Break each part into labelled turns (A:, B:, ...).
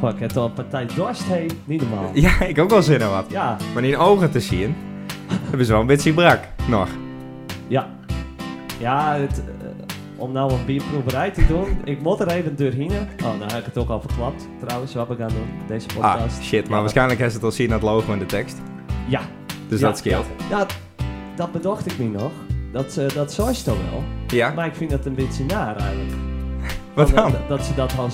A: Goh, ik heb al een partij dorst heen. Niet normaal.
B: Ja, ik ook wel zin in wat.
A: Ja,
B: Maar in ogen te zien, hebben ze wel een beetje brak. Nog. Ah,
A: ja. Ja, het, eh, om nou een bierproeverij te doen, ik moet er even doorheen. Oh, nou heb ik het ook al verklapt trouwens, wat we gaan doen, deze
B: Ah,
A: podcast.
B: shit. Maar waarschijnlijk hebben ze het al zien aan het logo en de tekst.
A: Ja,
B: Dus
A: Ja.
B: dat scheelt.
A: ja, dat bedacht ik niet nog. Dat, eh dat zou je toch wel.
B: Ja?
A: Maar ik vind dat een beetje naar eigenlijk.
B: Wat
A: Van, eh,
B: dan?
A: Dat, dat ze dat al,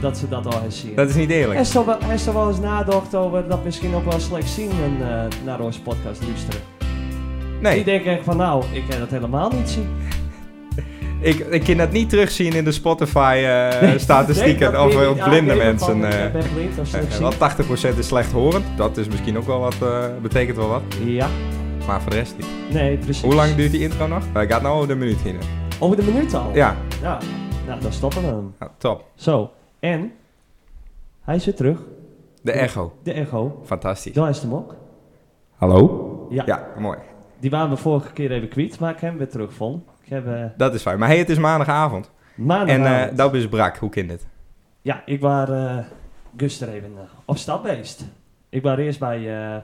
A: dat ze dat al eens zien.
B: Dat is niet
A: Er
B: eerlijk.
A: is toch wel- er is toch wel eens nagedacht over dat misschien ook wel slechts zien en, eh, naar onze podcast luisteren. Die
B: Nee,
A: denken echt van nou, ik kan dat helemaal niet zien.
B: ik, ik kan dat niet terugzien in de
A: Nee,
B: Spotify-statistieken
A: nee, dat weet
B: of
A: ik
B: op
A: niet.
B: Eh, blinde
A: Ah, ik weet
B: mensen.
A: ervan,
B: eh.
A: Ik ben blind of
B: Eh,
A: slechts zien.
B: wel 80% is slechthorend. Dat is misschien ook wel wat, eh, betekent wel wat.
A: Ja,
B: Maar voor de rest niet.
A: nee, precies.
B: Hoe lang duurt die intro nog? Hij gaat nou over de minuut heen.
A: Over de minuut al?
B: Ja,
A: Ja, nou dan stoppen we hem.
B: nou, top.
A: Zo, en hij is weer terug,
B: De echo.
A: de echo.
B: Fantastisch.
A: Daar is de mok.
B: Hallo?
A: Ja.
B: Ja, mooi.
A: Die waren we vorige keer even kwijt, maar ik heb hem weer teruggevonden. Ik heb eh
B: Dat is fijn. Maar hey, het is maandagavond. En
A: maandagavond-
B: eh dat is brak. Hoe kind het?
A: Ja, ik was eh Guster even eh, op stap geweest. Ik was eerst bij, eh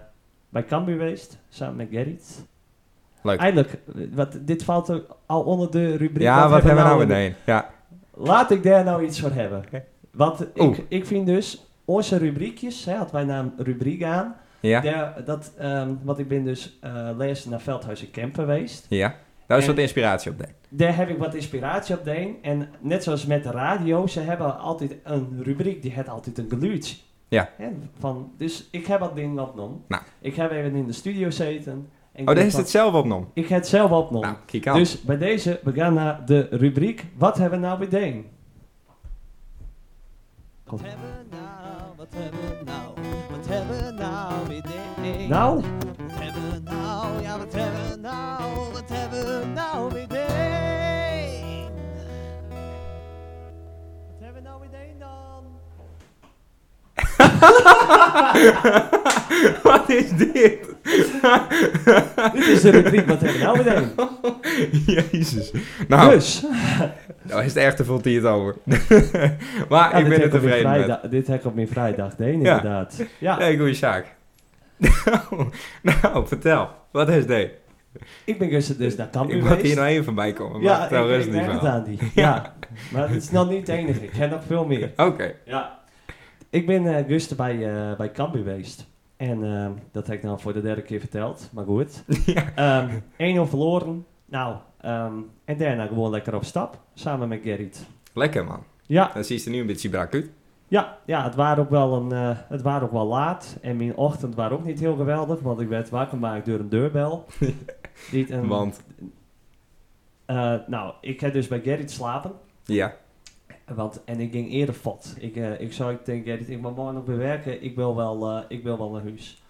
A: bij Cambuur geweest, samen met Gerrit.
B: Leuk.
A: Eindelijk, eh, wat, dit valt ook al onder de rubriek.
B: Ja, wat hebben we nou
A: in de-
B: meteen? Ja.
A: Laat ik daar nou iets voor hebben. Want
B: Oeh.
A: ik, ik vind dus, onze rubriekjes, hè, had wij naam rubriek aan.
B: Ja.
A: Daar, dat, ehm, want ik ben dus eh lezer naar Veldhuis en Kemp geweest.
B: Ja. Daar is
A: En-
B: wat inspiratie op, Oh, denk ik.
A: Daar heb ik wat inspiratie op deen. En net zoals met de radio, ze hebben altijd een rubriek, die heeft altijd een geluidje.
B: Ja.
A: Hè, van, dus ik heb dat ding opgenomen.
B: Nou.
A: Ik heb even in de studio zitten. En ik
B: Oh, daar
A: denk
B: is
A: van,
B: het zelf opgenomen.
A: Ik heb het zelf opgenomen.
B: Nou, kijk aan.
A: Dus bij deze, we gaan naar de rubriek. Wat hebben we nou bedeen? Wat hebben nou? we nou? Wat hebben we nou? Wat hebben we nou bedeen? Nou? Wat hebben we nou? Ja, wat hebben we nou? Wat hebben we nou bedeen? Wat hebben we nou bedeen dan?
B: wat is dit?
A: Dit is de rubriek. Wat hebben we nou bedeen?
B: Jezus. Nou,
A: dus.
B: nou is het echt te veel hier het over. maar
A: Ja,
B: ik
A: dit
B: ben
A: heb ik
B: er
A: op mijn
B: tevreden met.
A: vrijda- Dit heb ik op mijn vrijdag deed, inderdaad. Ja.
B: Nee, goeie zaak. nou, vertel. Wat is dit?
A: ik ben gisteren dus naar Cambuur
B: Ik moet
A: geweest.
B: hier nou even voorbij komen. Maar
A: ja,
B: vertel
A: ik,
B: rustig
A: ik merk het
B: wel.
A: aan die. Ja. maar het is nog niet het enige. Ik heb nog veel meer.
B: Oké.
A: Ja. Ik ben eh gisteren bij, eh, bij Cambuur geweest. En ehm, dat heb ik nou voor de derde keer verteld. Maar goed. Ehm 1-0 verloren. Nou, ehm, en daarna gewoon lekker op stap. Samen met Gerrit.
B: Lekker man.
A: Ja,
B: Dan zie je er nu een beetje brak uit.
A: ja, ja het, waren ook wel een, eh, het waren ook wel laat. En mijn ochtend was ook niet heel geweldig, want ik werd wakker gemaakt door een deurbel. Niet een,
B: Want,
A: eh, nou, ik heb dus bij Gerrit slapen.
B: ja.
A: Want, en ik ging eerder vat. Ik, eh, ik zou tegen Gerrit, ik moet morgen nog bewerken. Ik wil wel, eh, ik wil wel naar huis.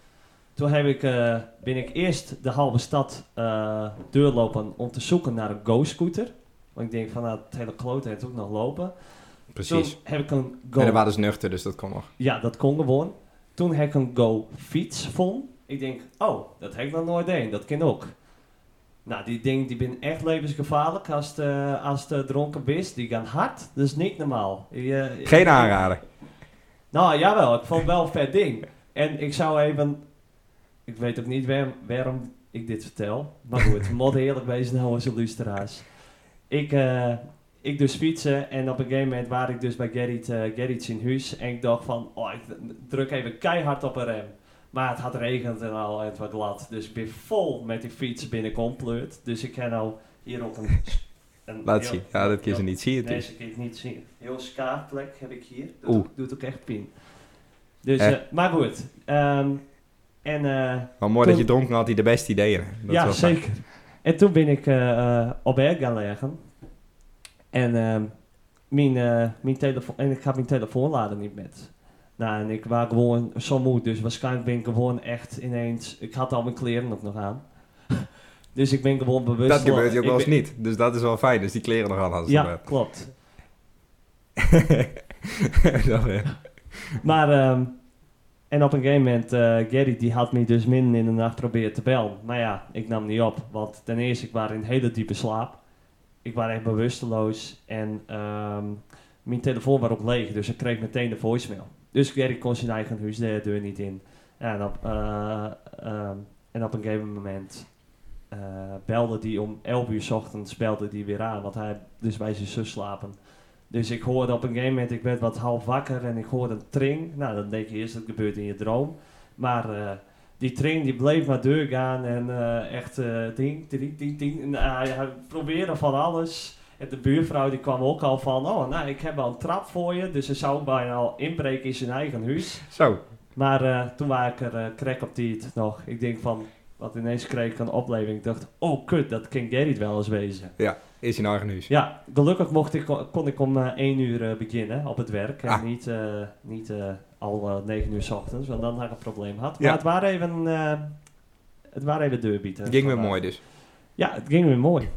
A: Toen heb ik, eh, ben ik eerst de halve stad eh, doorlopen om te zoeken naar een go-scooter. Want ik denk van, nou, het hele klote heeft ook nog lopen.
B: Precies.
A: Toen heb ik een go
B: En dat waren dus nuchter, dus dat kon nog.
A: Ja, dat kon gewoon. Toen heb ik een Go-fiets vond. Ik denk, oh, dat heb ik nog nooit deed. Dat kan ook. Nou, die ding, die ben echt levensgevaarlijk als het, eh, als het eh, dronken is. Die gaan hard. Dat is niet normaal. Je-
B: Geen aanrader.
A: Nou, jawel. Ik vond het wel een vet ding. En ik zou even... Ik weet ook niet waar- waarom ik dit vertel. Maar goed, moet eerlijk wezen nou onze luisteraars. Ik, eh, ik dus fietsen en op een gegeven moment waar ik dus bij Gerrit, eh Gerrit in huis. En ik dacht van, oh, ik druk even keihard op een rem. Maar het had regend en al, en het was glad. Dus ik ben vol met die fiets binnenkom pleurt. Dus ik kan nou hier ook een... een
B: Laat
A: heel-
B: zien. Ja, dat kun je
A: heel-
B: niet zien.
A: Nee,
B: natuurlijk.
A: ze kan het niet zien. Heel skaafplek heb ik hier. Doet,
B: Oeh.
A: ook- doet ook echt pijn. Dus,
B: Eh.
A: eh, maar goed. Ehm, en, eh,
B: Maar mooi dat je
A: Toen-
B: dronken had, die de beste ideeën. hè. Dat is
A: ja,
B: wel fijn.
A: zeker. En toen ben ik eh, eh, op bed gaan leggen. En, ehm, mijn, eh, mijn telefoon, en ik had mijn telefoon laden niet met. Nou, en ik was gewoon zo moe, dus waarschijnlijk ben ik gewoon echt ineens... Ik had al mijn kleren ook nog aan. dus ik ben gewoon bewust...
B: Dat gebeurt je ook
A: ik
B: wel eens
A: ben-
B: niet. Dus dat is wel fijn. Dus die kleren nog aan hadden ze
A: Ja,
B: erbij.
A: klopt.
B: Dat, eh,
A: Maar, ehm, en op een gegeven moment, eh Gary die had me dus midden in de nacht proberen te bellen. Maar ja, ik nam niet op. Want ten eerste, ik was in hele diepe slaap. Ik was echt bewusteloos. En ehm, mijn telefoon was ook leeg, dus ik kreeg meteen de voicemail. Dus Gerry kon zijn eigen huis de deur niet in. En op, eh, ehm, en op een gegeven moment eh, belde die om 11 uur 's ochtends belde die weer aan, want hij dus bij zijn zus slapen. Dus ik hoorde op een gegeven moment, ik werd wat half wakker en ik hoorde een tring. Nou, dan denk je eerst dat gebeurt in je droom. Maar eh, die tring die bleef maar doorgaan en eh, echt eh, ding, ding, ding, ding. En, eh, hij- hij probeerde van alles. En de buurvrouw die kwam ook al van, oh nou, ik heb wel een trap voor je. Dus ze zou bijna al inbreken in zijn eigen huis.
B: Zo.
A: Maar eh, toen was ik er eh, crack op die het nog. Ik denk van, wat ineens kreeg ik een opleving. Ik dacht, oh kut, dat kan Gerrit wel eens wezen.
B: Is nou in eigen huis.
A: Ja, gelukkig mocht ik, kon ik om eh 1 uur eh, beginnen op het werk. En
B: Ah.
A: niet, eh, niet eh, al eh, 9 uur s ochtends, want dan had ik een probleem had. Maar
B: Ja.
A: het waren even, eh het waren even deurbieten.
B: Ging weer mooi dus.
A: Ja, het ging weer mooi.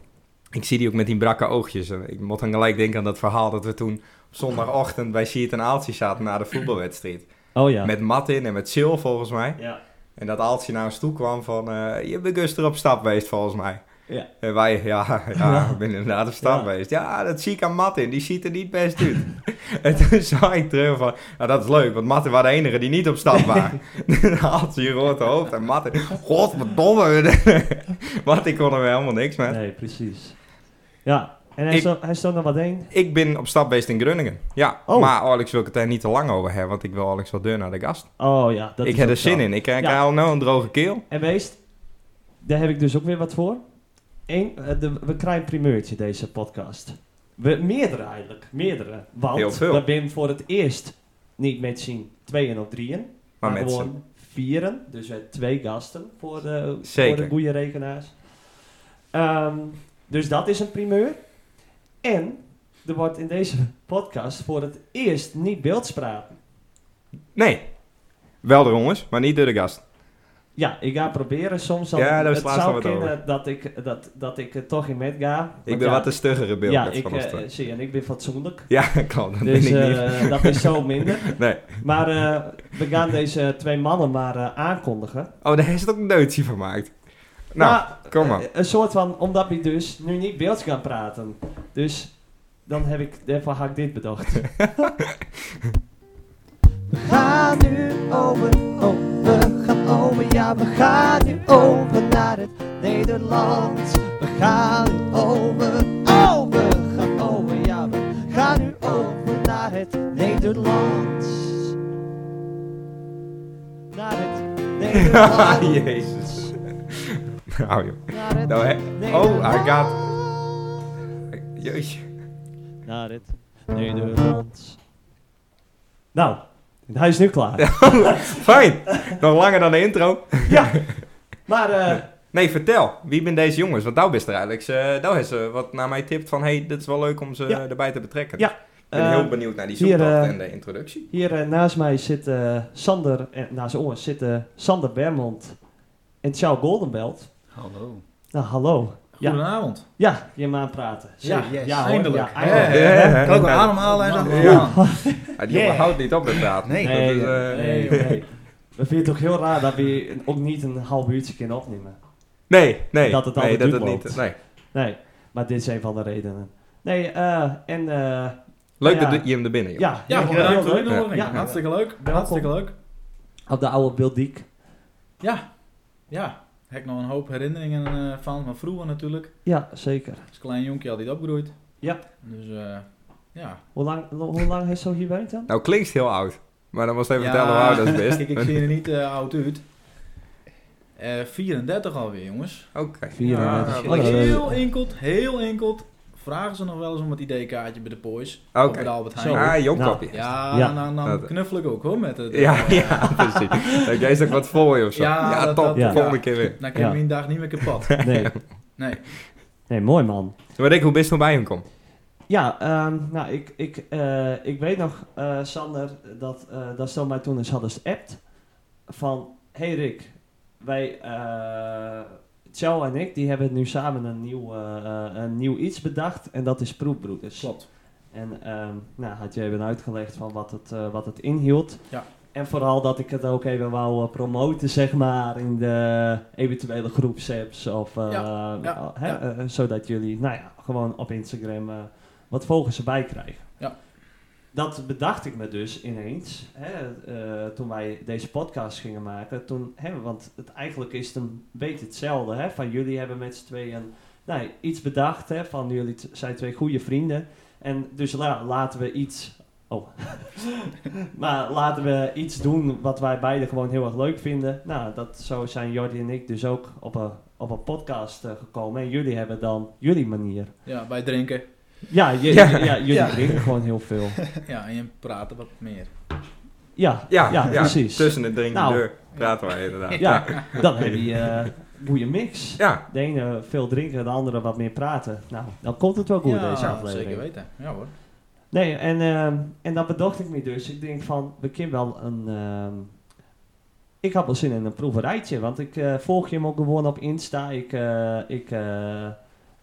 B: Ik zie die ook met die brakke oogjes. En Ik moet dan gelijk denken aan dat verhaal dat we toen op zondagochtend bij Siert en Aaltje zaten na de voetbalwedstrijd.
A: Oh ja.
B: Met Martin en met Sil volgens mij.
A: Ja,
B: En dat Aaltje naar ons toe kwam van, eh, je bent gisteren op stap geweest volgens mij.
A: Ja.
B: En wij, ja, ja, ik ben inderdaad op stap
A: Ja.
B: geweest. Ja, dat zie ik aan Martin, die ziet er niet best uit. en toen zei ik terug van, nou dat is leuk, want Martin was de enige die niet op stap was. Aaltje hier rood hoofd en Martin, godverdomme. Martin kon er weer helemaal niks mee.
A: nee, precies. Ja, en hij,
B: Ik-
A: stond, hij stond er wat heen.
B: Ik ben op stap geweest in Groningen. Ja,
A: Oh.
B: maar Alex wil ik het daar niet te lang over hebben, want ik wil Alex wel deur naar de gast.
A: Oh ja, dat
B: ik
A: is
B: heb
A: ook
B: er
A: zo.
B: zin in. Ik krijg
A: Ja.
B: al nou een droge keel.
A: En wees, daar heb ik dus ook weer wat voor. Eén, eh, de, we krijgen een primeurtje deze podcast. We, meerdere eigenlijk, meerdere. Want
B: Heel veel.
A: we zijn voor het eerst niet met z'n tweeën of drieën,
B: Maar met z'n-
A: gewoon vieren. Dus we hebben twee gasten voor de,
B: Zeker.
A: voor de boeienrekenaars. Ehm, dus dat is een primeur. En er wordt in deze podcast voor het eerst niet beeldspraken.
B: Nee. Wel de jongens, maar niet door de gast.
A: Ja, ik ga proberen soms. Dan,
B: Ja, daar was
A: het
B: laatst al
A: zou
B: wat
A: kunnen dat ik, dat, dat ik er toch in met ga.
B: Ik
A: Want
B: ben
A: ja,
B: wat een stuggere beeld
A: Ja,
B: met
A: ik
B: van ons
A: eh,
B: twee.
A: zie en ik ben fatsoenlijk.
B: Ja, klopt. Dat
A: Dus
B: ben ik niet.
A: eh, dat is zo minder.
B: Nee.
A: Maar eh, we gaan deze twee mannen maar eh, aankondigen.
B: Oh, daar is het ook een deutje van gemaakt. Nou, kom maar.
A: eh, een soort van, omdat we dus nu niet beeld gaan praten. Dus dan heb ik, daarvoor had ik dit bedacht. We gaan nu over, oh, we gaan over, ja, we gaan nu over naar het Nederlands. We gaan nu over, oh, we gaan over, ja, we gaan nu over naar het Nederlands. Naar het Nou. Nederlands.
B: Ah, Jezus. Nou, joh.
A: Naar het
B: Nou, hè. Oh, hij gaat... Jeetje.
A: Naar het Nederlands. Nou, hij is nu klaar. Ja,
B: Fijn. Nog langer dan de intro.
A: maar eh,
B: Nee, vertel. Wie ben deze jongens? Want nou best er eigenlijk... eh nou is ze wat naar mij tipt van... hey, dit is wel leuk om ze
A: Ja.
B: erbij te betrekken.
A: Ja.
B: Ik ben heel
A: eh,
B: benieuwd naar die
A: hier,
B: zoektocht
A: eh,
B: en de introductie.
A: hier eh, naast mij zit eh, Sander, en naast ons zitten eh, Sander Bermond en Charles Goldenbelt.
C: Hallo.
A: Nou, hallo. Ja.
C: Goedenavond.
A: Ja, je mag praten.
C: Ja,
A: Zeg,
C: yes,
A: ja, hoor,
C: eindelijk.
A: Ja, eindelijk.
B: Ja, ja, ja.
C: Kan ik wel ademhalen en zo?
B: Ja. Ah, die jongen
A: Yeah.
B: houdt niet op met praten.
C: Nee.
B: Dat
A: Nee,
B: is, eh,
A: nee, nee, nee. We vinden het ook heel raar dat we ook niet een half uurtje kunnen opnemen.
B: Nee, nee.
A: Dat het
B: nee,
A: altijd
B: dat het
A: duurt
B: niet.
A: loopt.
B: Nee.
A: Nee, maar dit is een van de redenen. Nee, eh, en eh,
B: Leuk
A: Ja.
B: dat je hem er binnen. joh.
A: ja,
C: Ja,
A: heel-
C: bedankt
A: heel
C: voor de
A: leuk.
C: uitnodiging.
A: Ja.
C: Hartstikke leuk. Hartstikke leuk.
A: op de oude Bildiek.
C: Ja. Ja. Heb ik nog een hoop herinneringen eh, van, van vroeger natuurlijk.
A: Ja, zeker.
C: Als klein jonkje altijd opgegroeid.
A: Ja.
C: Dus eh, ja.
A: Hoe lang, lo- hoe lang heeft zo hier werkt dan?
B: Nou klinkt heel oud. Maar dan was even
C: Ja.
B: vertellen hoe oud dat is best.
C: Kijk, ik zie er niet eh, oud uit. Eh 34 alweer, jongens.
B: Oké. Ah,
C: Ja,
A: 34.
C: maar
A: Oh, dat is-
C: heel enkelt, heel enkelt. Vragen ze nog wel eens om het ID-kaartje bij de Poys.
B: Oké.
C: Of bij de Albert Heijn.
A: Zo.
C: Ja,
B: Ah, jong
A: Nou.
B: kopje. Ja,
A: Ja.
C: nou,
B: Dat-
C: nou knuffel ik ook hoor met het. eh,
B: ja, precies. Kijk, jij is ook wat voor je of zo. Ja,
C: Ja, dat-
B: top.
C: dat-
B: de
C: ja.
B: Volgende keer weer.
C: Dan kan
A: Ja.
C: je mijn dag niet meer kapot.
A: Nee.
C: Nee.
A: nee, mooi man.
B: Maar denk hoe best nog bij hem komt.
A: Ja, ehm, nou, ik, ik, eh, ik weet nog, eh, Sander, dat, eh dat ze mij toen eens hadden appt. Van, hey Rick, wij, eh Tjel en ik, die hebben nu samen een nieuw, eh, eh, een nieuw iets bedacht. En dat is Proefbroeders.
C: Klopt.
A: En ehm, nou, had je even uitgelegd van wat het, eh, wat het inhield.
C: Ja.
A: En vooral dat ik het ook even wou eh, promoten, zeg maar, in de eventuele groepsapps. Of, eh,
C: Ja, ja,
A: eh, hè,
C: ja.
A: eh, zodat jullie, nou ja, gewoon op Instagram eh, wat volgers erbij krijgen.
C: Ja.
A: dat bedacht ik me dus ineens. Hè, eh, toen wij deze podcast gingen maken. Toen, hè, want het, eigenlijk is het een beetje hetzelfde. Hè, van jullie hebben met z'n tweeën nou, iets bedacht. Hè, van jullie t- zijn twee goede vrienden. En dus la- laten we iets. Oh. maar laten we iets doen wat wij beiden gewoon heel erg leuk vinden. Nou, dat, zo zijn Jordi en ik dus ook op een, op een podcast eh, gekomen. En jullie hebben dan jullie manier.
C: Ja, bij drinken.
A: Ja, je-
B: Ja.
A: ja, jullie
C: Ja.
A: drinken gewoon heel veel.
C: Ja, en je praten wat meer.
A: Ja,
B: Ja,
A: Ja, precies.
B: Tussen de drinkende
A: Nou.
B: deur praten wij inderdaad.
A: ja dan heb je eh goede mix.
B: Ja,
A: De ene veel drinken, de andere wat meer praten. Nou, dan komt het wel goed
C: ja,
A: deze aflevering.
C: zeker weten. Ja hoor.
A: Nee, en, ehm, en dat bedacht ik me dus. Ik denk van, we kunnen wel een... ehm, ik had wel zin in een proeverijtje, want ik eh, volg je hem ook gewoon op Insta. Ik, eh, ik eh,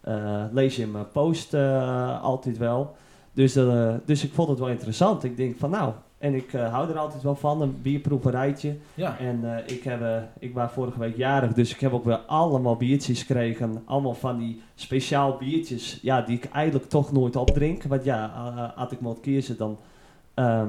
A: eh, lees je mijn post eh, altijd wel. Dus, eh, dus ik vond het wel interessant. Ik denk van, nou... En ik eh, hou er altijd wel van, een bierproeverijtje.
C: Ja,
A: En eh, ik, heb, eh, ik was vorige week jarig, dus ik heb ook weer allemaal biertjes gekregen. Allemaal van die speciaal biertjes, ja, die ik eigenlijk toch nooit opdrink. Want ja, eh, had ik moet kiezen, dan ehm,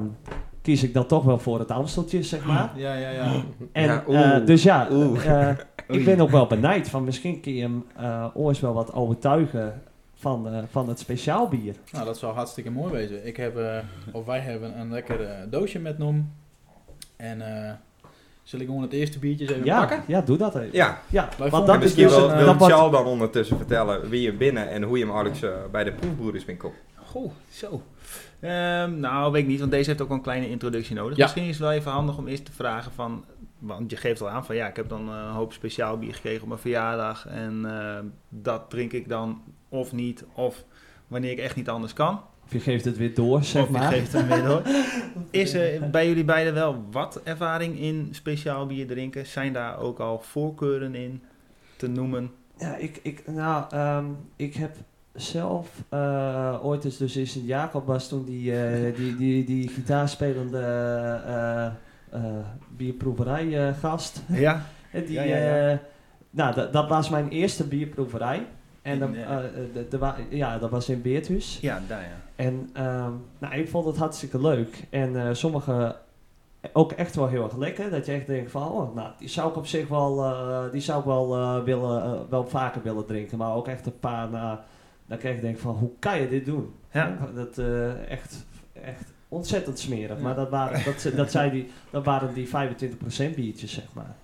A: kies ik dan toch wel voor het Amsteltje, zeg maar.
C: ja, ja, ja.
A: En,
B: Ah, Ja, oeh.
A: eh, dus ja,
B: Oeh.
A: eh, ik ben ook wel benijd van misschien kun je hem eh ooit wel wat overtuigen van, eh, van het speciaal bier.
C: Nou, dat zou hartstikke mooi wezen. Ik heb, eh, of wij hebben een lekker eh, doosje met nom. En eh zal ik gewoon het eerste biertje eens even pakken?
A: Ja, ja, doe dat even.
B: ja.
A: Ja,
C: Wij
A: want
C: vonden
A: dat
B: En
A: is
B: misschien
A: dus
C: wel-
B: wil,
A: een,
C: eh,
B: wil
A: dat wordt-
B: Charles dan ondertussen vertellen wie je binnen en hoe je hem Alex eh, bij de proefbroederswinkel.
D: Goh, zo. Ehm, nou, weet ik niet, want deze heeft ook wel een kleine introductie nodig.
C: Ja.
D: Misschien is het wel even handig om eerst te vragen van... Want je geeft al aan van ja, ik heb dan eh, een hoop speciaal bier gekregen op mijn verjaardag. En eh, dat drink ik dan of niet, of wanneer ik echt niet anders kan.
A: Of je geeft het weer door, zeg
D: of ik
A: maar.
D: geef het hem weer door. Is
C: eh,
D: er bij jullie beiden wel wat ervaring in speciaal bier drinken? Zijn daar ook al voorkeuren in te noemen?
A: Ja, ik, ik, nou, ehm, ik heb zelf eh, ooit eens dus in Sint-Jacob was toen die, eh, die, die, die gitaarspelende eh, eh, bierproeverij eh, gast.
D: Ja,
A: En die,
D: Ja, ja, ja.
A: eh, nou, dat, dat was mijn eerste bierproeverij. En dan,
D: In, eh,
A: eh, eh, de- de wa- ja, dat was in Beerthuis.
D: ja daar ja.
A: En ehm, nou, ik vond het hartstikke leuk. En eh, sommige ook echt wel heel erg lekker. Dat je echt denkt van, oh, nou, die zou ik op zich wel, eh, die zou ik wel, eh, willen, eh, wel vaker willen drinken. Maar ook echt een paar na, dan krijg je denk van, hoe kan je dit doen?
D: Ja.
A: Dat eh, echt, echt ontzettend smerig.
C: Ja.
A: Maar dat waren, dat, dat, zei die, dat waren die 25% biertjes, zeg maar.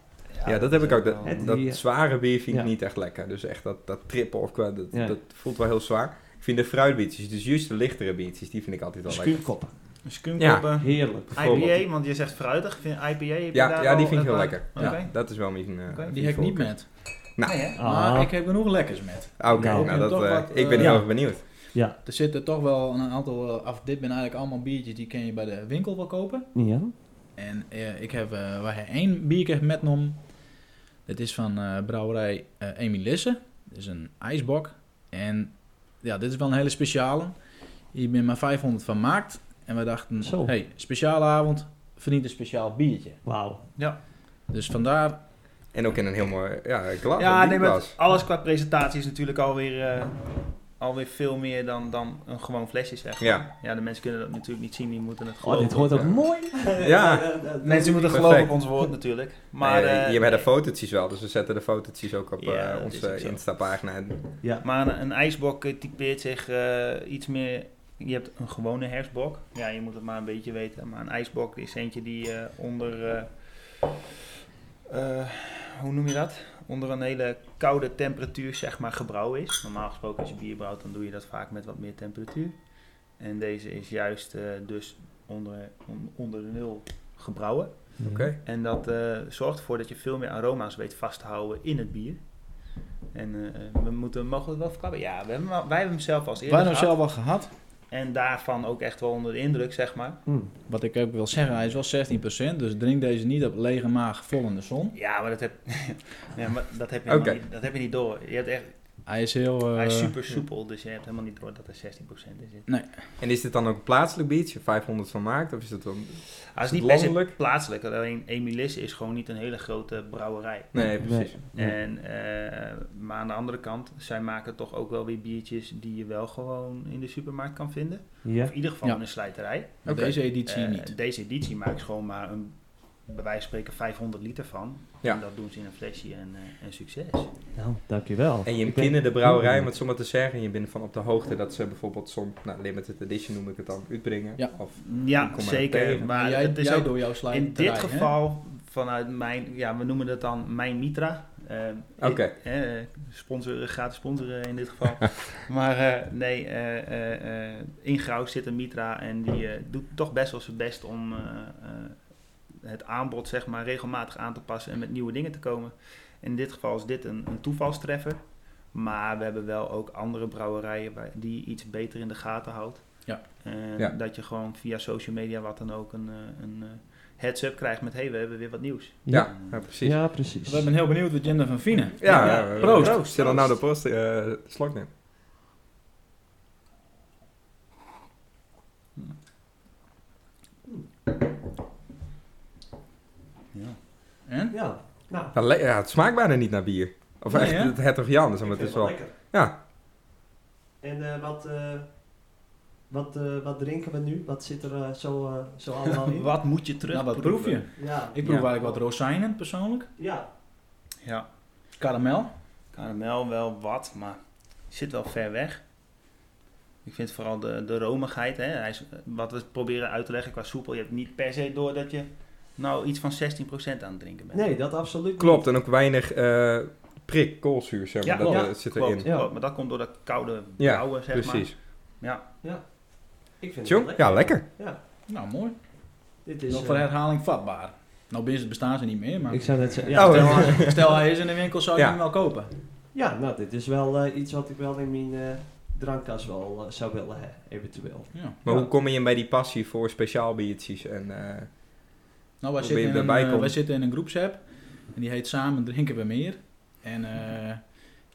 B: Ja, dat heb ik ook. Dat,
A: Het-
B: dat
A: die-
B: zware bier vind ik
A: ja.
B: niet echt lekker. Dus echt dat, dat trippen of qua, dat,
A: Ja.
B: dat voelt wel heel zwaar. Ik vind de fruitbiertjes, dus juist de lichtere biertjes, die vind ik altijd wel lekker.
A: Schuurkoppen.
D: Skunkkoppen.
A: Heerlijk.
B: Bijvoorbeeld.
D: IPA, want je zegt fruitig. Vind IPA heb je
B: Ja,
D: daar
B: ja, die
D: al eh,
B: vind ik heel
D: ervaring?
B: lekker. Ja,
D: Oké.
B: dat is wel mijn... eh,
D: Oké.
B: mijn
C: Die heb ik niet
B: voorkeur.
C: met.
B: Nou.
D: Nee, hè?
C: Maar
A: Ah.
C: ik heb genoeg lekkers met.
B: Ah, Oké,
A: Nou,
B: nou,
C: ik
B: dat,
C: vind
B: eh,
C: toch wat,
B: ik ben
C: eh,
B: heel
A: ja.
B: erg benieuwd.
C: Er zitten toch wel een aantal, eh, af dit ben eigenlijk allemaal biertjes, die kun je bij de winkel wel kopen.
A: Ja.
C: En eh, ik heb eh waar hij één biertje metnom. Dat is van eh, brouwerij eh Emilisse. Dat is een ijsbok. En ja, dit is wel een hele speciale. Hier ben maar 500 van maakt. En we dachten,
A: Zo.
C: hey, speciale avond verdient een speciaal biertje.
A: Wauw.
C: Dus vandaar,
B: En ook in een heel mooi ja, glas.
D: Ja,
B: een
D: nee, maar
B: bierglas.
D: alles qua presentatie is natuurlijk alweer, eh, alweer veel meer dan, dan een gewoon flesje, zeg.
B: Ja,
D: Ja, de mensen kunnen dat natuurlijk niet zien, die moeten het
A: Oh,
D: geloven.
A: dit hoort ook
B: Ja.
A: mooi.
B: Ja.
A: Eh, eh, eh,
D: mensen moeten
B: Perfect.
D: geloven op ons woord natuurlijk. Maar,
B: maar,
D: eh,
B: je hebt de fotootjes wel, dus we zetten de fotootjes ook op
D: Ja,
B: eh,
D: dat is
B: onze
D: ook zo.
B: Insta-pagina. En-
D: maar een- een ijsbok eh, typeert zich eh, iets meer... Je hebt een gewone hersbok. Ja, je moet het maar een beetje weten. Maar een ijsbok is eentje die eh, onder... eh, eh, hoe noem je dat? Onder een hele koude temperatuur, zeg maar, gebrouwen is. Normaal gesproken als je bier brouwt, dan doe je dat vaak met wat meer temperatuur. En deze is juist eh, dus onder, on- onder de nul gebrouwen.
A: Oké.
B: Oké.
D: En dat eh, zorgt ervoor dat je veel meer aroma's weet vast te houden in het bier. En eh, we moeten, mogen we het wel verklappen? Ja, we hebben, wel- wij hebben hem zelf als eerder
C: wij hebben
D: gehad.
C: hem zelf al gehad.
D: En daarvan ook echt wel onder de indruk, zeg maar.
A: Hmm.
C: Wat ik ook wil zeggen, hij is wel 16%. Dus drink deze niet op lege maag vol in de zon.
D: Ja, maar dat heb, ja, maar dat heb, je helemaal
B: Oké.
D: niet, dat heb je niet door. Je hebt echt,
C: Hij is heel... eh,
D: Hij is super soepel, dus je hebt helemaal niet door dat er 16% in zit.
B: En is dit dan ook plaatselijk biertje? 500 van maakt? Of is het dan...
D: Hij is
B: het
D: niet per se
B: landelijk?
D: plaatselijk, alleen Emilisse is gewoon niet een hele grote brouwerij.
B: Nee, precies.
C: Hm.
A: Nee.
D: En, eh, maar aan de andere kant, zij maken toch ook wel weer biertjes die je wel gewoon in de supermarkt kan vinden.
A: Ja.
D: Of in ieder geval
C: Ja.
D: in een slijterij.
C: met
B: Oké.
C: Deze editie
D: Eh,
C: niet.
D: Deze editie maakt gewoon maar een, bij wijze van spreken 500 liter van.
B: Ja.
D: En dat doen ze in een flesje en, eh, en succes.
A: Nou, dankjewel.
B: En je
A: Ik ben-
B: kennen de brouwerij, om het zo maar te zeggen. Je bent van op de hoogte dat ze bijvoorbeeld soms, nou, limited edition noem ik het dan, uitbrengen.
C: Ja.
B: Of, Ik
D: Ja,
B: kom maar
D: zeker.
B: tegen.
D: Maar
C: jij,
D: het is
C: jij
D: ook
C: door jouw slide
D: in dit geval vanuit mijn, ja, we noemen dat dan mijn Mitra. Eh,
B: Oké.
D: eh, eh, sponsoren, gratis sponsoren in dit geval. maar eh, nee, eh, eh, eh, in Grauw zit een Mitra en die eh, doet toch best wel zijn best om eh, eh, het aanbod zeg maar regelmatig aan te passen en met nieuwe dingen te komen. In dit geval is dit een, een toevalstreffer. Maar we hebben wel ook andere brouwerijen waar- die je iets beter in de gaten houdt.
C: Ja.
D: En
B: Ja.
D: Dat je gewoon via social media wat dan ook een, eh, een eh, heads-up krijgt met... hé, hey, we hebben weer wat nieuws.
B: ja, ja, precies. Ja,
A: Ja, precies.
C: We zijn heel benieuwd wat Jinder van Vine.
B: ja,
D: Ja,
C: proost.
B: Proost. Zullen we nou de proost eh slok nemen?
D: Ja.
C: En?
A: Ja, nou.
B: Nou, le- ja, het smaakt bijna niet naar bier. Of
C: Nee,
B: echt
C: hè?
B: het hertog Jan, zeg maar
A: ik
B: het
A: vind
B: is
A: het lekker.
B: wel... Ja,
A: En eh, wat, eh, wat, eh, wat drinken we nu? Wat zit er eh, zo, eh, zo allemaal in?
D: Wat moet je terug
C: Nou, wat proef je?
A: Ja,
C: Ik proef
A: ja.
C: eigenlijk wat rozijnen persoonlijk.
A: Ja,
D: Ja,
C: Karamel.
D: karamel wel wat, maar zit wel ver weg. Ik vind vooral de, de romigheid, hè. Hij is, wat we proberen uit te leggen qua soepel. Je hebt niet per se door dat je nou iets van 16% aan het drinken bent.
A: nee, dat absoluut niet.
B: klopt. En ook weinig eh prik, koolzuur, zeg maar.
D: Ja,
B: dat
A: ja,
B: eh, zit
D: klopt,
B: erin.
A: Ja.
D: klopt. Maar dat komt door dat koude
B: Ja,
D: brouwen, zeg
B: Precies.
D: maar. Ja,
A: Ik vind
B: Tjong?
A: het wel
B: Ja, lekker.
C: Nou, mooi.
A: Dit
C: Nog
A: is,
C: voor
A: eh,
C: herhaling vatbaar. Nou, binnen bestaan ze niet meer, maar
A: ik zou net zeggen,
B: Oh,
A: ja,
C: stel, hij- stel hij is in de winkel, zou je
B: Ja.
C: hem wel kopen.
A: ja, nou, dit is wel eh, iets wat ik wel in mijn eh, drankkast wel eh, zou willen hebben, eventueel.
C: Ja.
B: Maar
A: Ja.
B: hoe kom je in bij die passie voor speciaal biertjes? En, eh,
C: Nou, wij
B: Hoe ben
C: zitten,
B: je
C: in een,
B: erbij
C: eh,
B: komen?
C: wij zitten in een groepsapp en die heet Samen Drinken We Meer. En eh,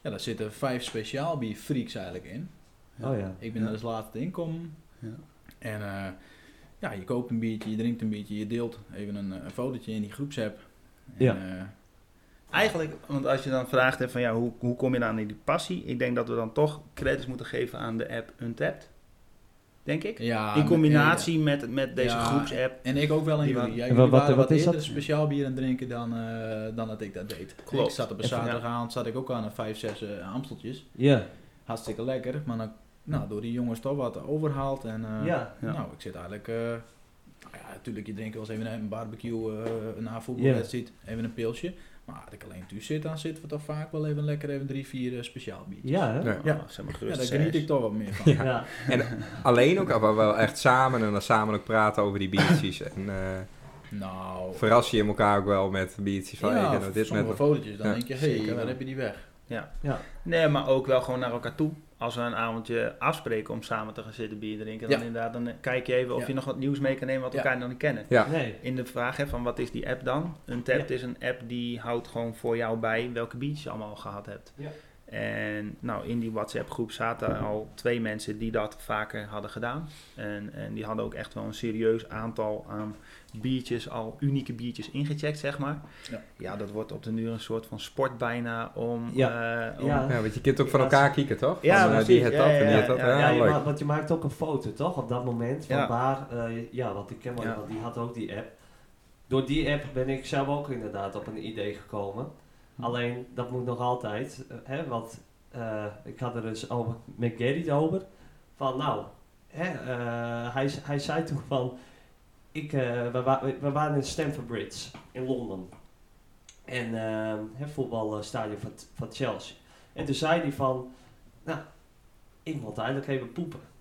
C: ja, daar zitten vijf speciaal bierfreaks eigenlijk in.
A: Oh ja.
C: Ik ben
D: Ja.
C: er als laatste inkomen.
D: Ja.
C: En eh, ja, je koopt een biertje, je drinkt een biertje, je deelt even een, eh, een fotootje in die groepsapp. En,
A: Ja.
C: eh,
D: Eigenlijk, want als je dan vraagt hè, van ja, hoe, hoe kom je dan in die passie? Ik denk dat we dan toch credits moeten geven aan de app Untapped. Denk ik.
C: ja,
D: In combinatie met, met deze
C: Ja.
D: groepsapp.
C: En ik ook wel in
D: Die
C: jullie.
D: wa-
C: Ja,
A: En
C: jullie
A: wat- wat-
C: waren
A: wat
C: wat
A: is
C: eerder
A: dat?
C: speciaal bier aan het drinken dan, eh, dan dat ik dat deed.
D: Klopt.
C: Ik zat op een
A: Even-
C: zaterdagavond zat ik ook aan een 5, 6 eh Amsteltjes.
A: Ja,
C: Hartstikke lekker, maar dan, nou, door die jongens toch wat overhaald. En, eh,
A: ja.
D: Ja.
C: Nou, ik zit eigenlijk... eh, nou ja, natuurlijk, je drinkt wel eens even een barbecue eh na een voetbalwedstrijd. Even een pilsje. Maar als ik alleen thuis zit, dan zitten we toch vaak wel even lekker even drie, vier eh, speciaal biertjes.
A: Ja, hè?
B: Ja.
C: Ja.
D: Oh, zeg maar
C: Ja,
D: gerust
C: daar
D: zes.
C: geniet ik toch wat meer van.
A: Ja.
B: alleen ook, maar wel echt samen. En dan samen ook praten over die biertjes. En eh,
C: Nou...
B: verras je elkaar ook wel met biertjes. Van, hey, ik
C: Ja,
B: heb nou dit net
C: sommige
B: nog.
C: fotootjes, dan
B: Ja.
C: denk je, hé,
D: Zeker
C: hey, waar
D: wel.
C: heb je die weg?
D: Nee, maar ook wel gewoon naar elkaar toe. Als we een avondje afspreken om samen te gaan zitten bier drinken, dan
C: Ja.
D: inderdaad, dan eh, kijk je even of
C: Ja.
D: je nog wat nieuws mee kan nemen wat
C: Ja.
D: elkaar nog niet kennen.
B: Ja.
A: Nee.
D: In de vraag hè, van wat is die app dan? Untapped is een app die houdt gewoon voor jou bij welke biertjes je allemaal al gehad hebt.
A: Ja.
D: En nou, in die WhatsApp groep zaten al twee mensen die dat vaker hadden gedaan. En, en die hadden ook echt wel een serieus aantal aan biertjes, al unieke biertjes ingecheckt, zeg maar.
C: Ja.
D: Ja, dat wordt op de duur een soort van sport bijna om... eh, om
A: Ja.
B: Ja, want je kunt ook van elkaar kieken, toch?
D: Ja,
B: Van, eh,
D: precies.
B: die heeft
D: Ja,
B: dat
D: ja,
B: en die
D: ja,
B: heeft dat.
D: ja,
B: Ja,
A: Ja, je
B: leuk.
A: ma- want je maakt ook een foto, toch? Op dat moment. Van
D: Ja.
A: waar, eh, ja, want ik ken wel
D: Ja.
A: iemand die had ook die app. Door die app ben ik zelf ook inderdaad op een idee gekomen.
D: Hm.
A: Alleen, dat moet nog altijd. eh, hè, want eh, ik had er eens over, met Gerrit over. Van nou, hè, eh, hij, hij zei toen van... Ik, eh, we, wa- we waren in Stamford Bridge in Londen. En eh, het voetbalstadion van, van Chelsea. En toen zei hij van... Nou, ik moet eigenlijk even poepen.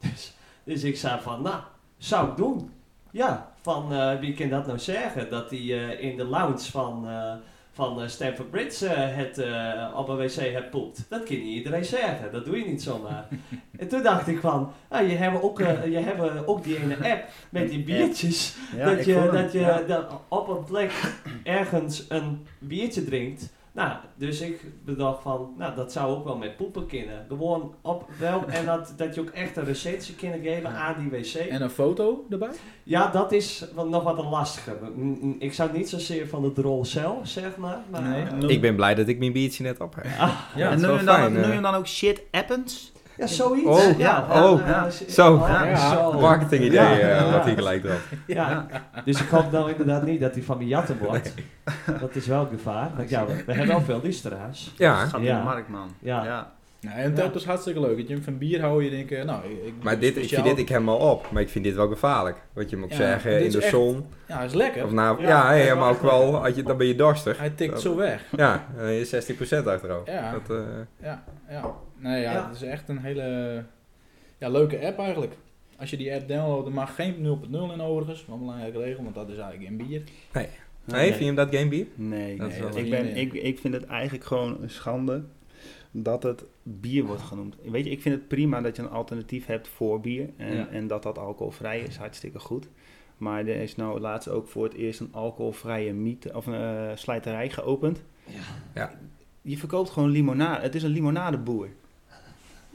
A: Dus, dus ik zei van, nou, zou ik doen. Ja, van eh, wie kan dat nou zeggen? Dat hij eh, in de lounge van, eh van eh, Stamford Bridge eh, het, eh, op een wc hebt poept. Dat kan niet iedereen zeggen, dat doe je niet zomaar. en toen dacht ik van, ah, je hebt ook, eh, je hebt ook die ene app met die biertjes
D: Ja,
A: dat
D: ik
A: je,
D: voel hem.
A: dat je
D: Ja.
A: dat op een plek ergens een biertje drinkt. Nou, dus ik bedacht van, nou, dat zou ook wel met poepen kunnen. Gewoon op wel, en dat, dat je ook echt een recensie kunnen geven
C: Ja.
A: aan die wc.
C: En een foto erbij?
A: Ja, dat is wat, nog wat lastiger. Mm, mm, Ik zou niet zozeer van de drol zelf, zeg maar. maar
D: Nee.
B: Ik ben blij dat ik mijn biertje net op heb.
C: Ja,
D: en
B: is
D: noem
B: wel
D: je, dan,
B: fijn,
D: noem
B: eh.
D: je dan ook shit appens?
A: Ja, zoiets.
B: Oh,
A: ja,
B: oh,
A: ja,
B: zo.
A: ja, zo.
B: Marketing idee,
A: Ja,
B: eh,
A: ja.
B: wat hij gelijk erop.
A: Ja. Dus ik hoop nou inderdaad niet dat hij van mijn jatten wordt. Dat is wel een gevaar. Want ja, we, we hebben wel veel luisteraars.
B: Ja,
D: Gaat
A: Ja.
D: in de markt, man.
A: Ja.
C: Nou, en dat is hartstikke leuk. Dat je hem van bier houdt, je denkt, eh, nou, ik- ik
B: maar dit, ik vind dit ik helemaal op. Maar ik vind dit wel gevaarlijk. Wat je moet
C: Ja,
B: zeggen,
C: dit
B: in
C: is
B: de
C: echt-
B: zon.
C: Ja, is lekker.
B: Of na,
A: Ja,
B: ja, ja,
A: dat is
B: maar
A: wel
B: ook wel, als je, dan ben je dorstig.
C: Hij tikt zo weg.
B: Ja, dan ben je 60% achterover.
C: Ja.
B: Dat, eh,
C: Ja, ja. Nee, ja,
A: Ja.
C: het is echt een hele ja, leuke app eigenlijk. Als je die app downloadt, er mag geen 0.0 in overigens. Wat een belangrijke regel, want dat is eigenlijk in bier.
B: nee, vind je hem dat game bier?
D: Nee,
B: Dat
D: nee,
B: is wel
D: ik,
C: een-
D: ben, ik, ik vind het eigenlijk gewoon een schande dat het bier wordt genoemd. Weet je, ik vind het prima dat je een alternatief hebt voor bier en,
C: Ja.
D: en dat dat alcoholvrij is, hartstikke goed. Maar er is nou laatst ook voor het eerst een alcoholvrije miet, of een eh, slijterij geopend.
A: Ja.
B: Ja.
D: Je verkoopt gewoon limonade. Het is een limonadeboer.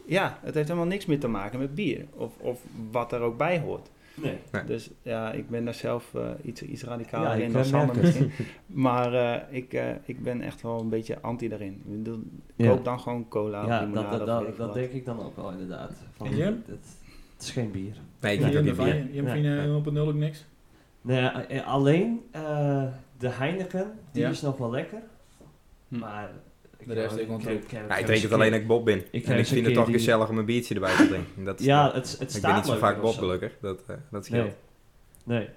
D: Ja, het heeft helemaal niks meer te maken met bier of, of wat er ook bij hoort.
A: Nee.
B: Nee.
D: Dus ja, ik ben daar zelf eh, iets, iets
A: Ja,
D: radicaler
A: ik
D: in dan
A: eh,
D: Sander
A: merk het.
D: misschien. Maar eh, ik, eh, ik ben echt wel een beetje anti daarin. Ik bedoel,
A: Ja.
D: koop dan gewoon cola
A: Ja, dat,
D: of limonade
A: dat,
D: of weet
A: dat,
D: ik
A: dat
D: wat.
A: denk ik dan ook wel inderdaad. Van,
C: En Jim?
A: Het, het is geen bier.
B: Nee, ik
C: Je
B: vind dat niet
C: hebt
B: bier.
C: hem
A: Nee.
C: van 0.0 ook niks.
A: Nee, eh, alleen eh, de Heineken, die
C: Ja.
A: is nog wel lekker.
C: Hm.
A: Maar...
C: De rest ik ontrouw.
B: Ja, ik drink het alleen als ik Bob ben.
A: Ik
B: en
A: heb
B: ik
A: eens een
B: vind het
A: keer
B: toch
A: die-
B: gezellig om een biertje erbij te drinken. Dat is
A: Ja,
B: wel-
A: het, het
B: ik
A: staat
B: ben niet zo
A: leuker
B: vaak
A: of
B: Bob, gelukkig. Dat, eh, dat scheelt.
A: Nee. Nee.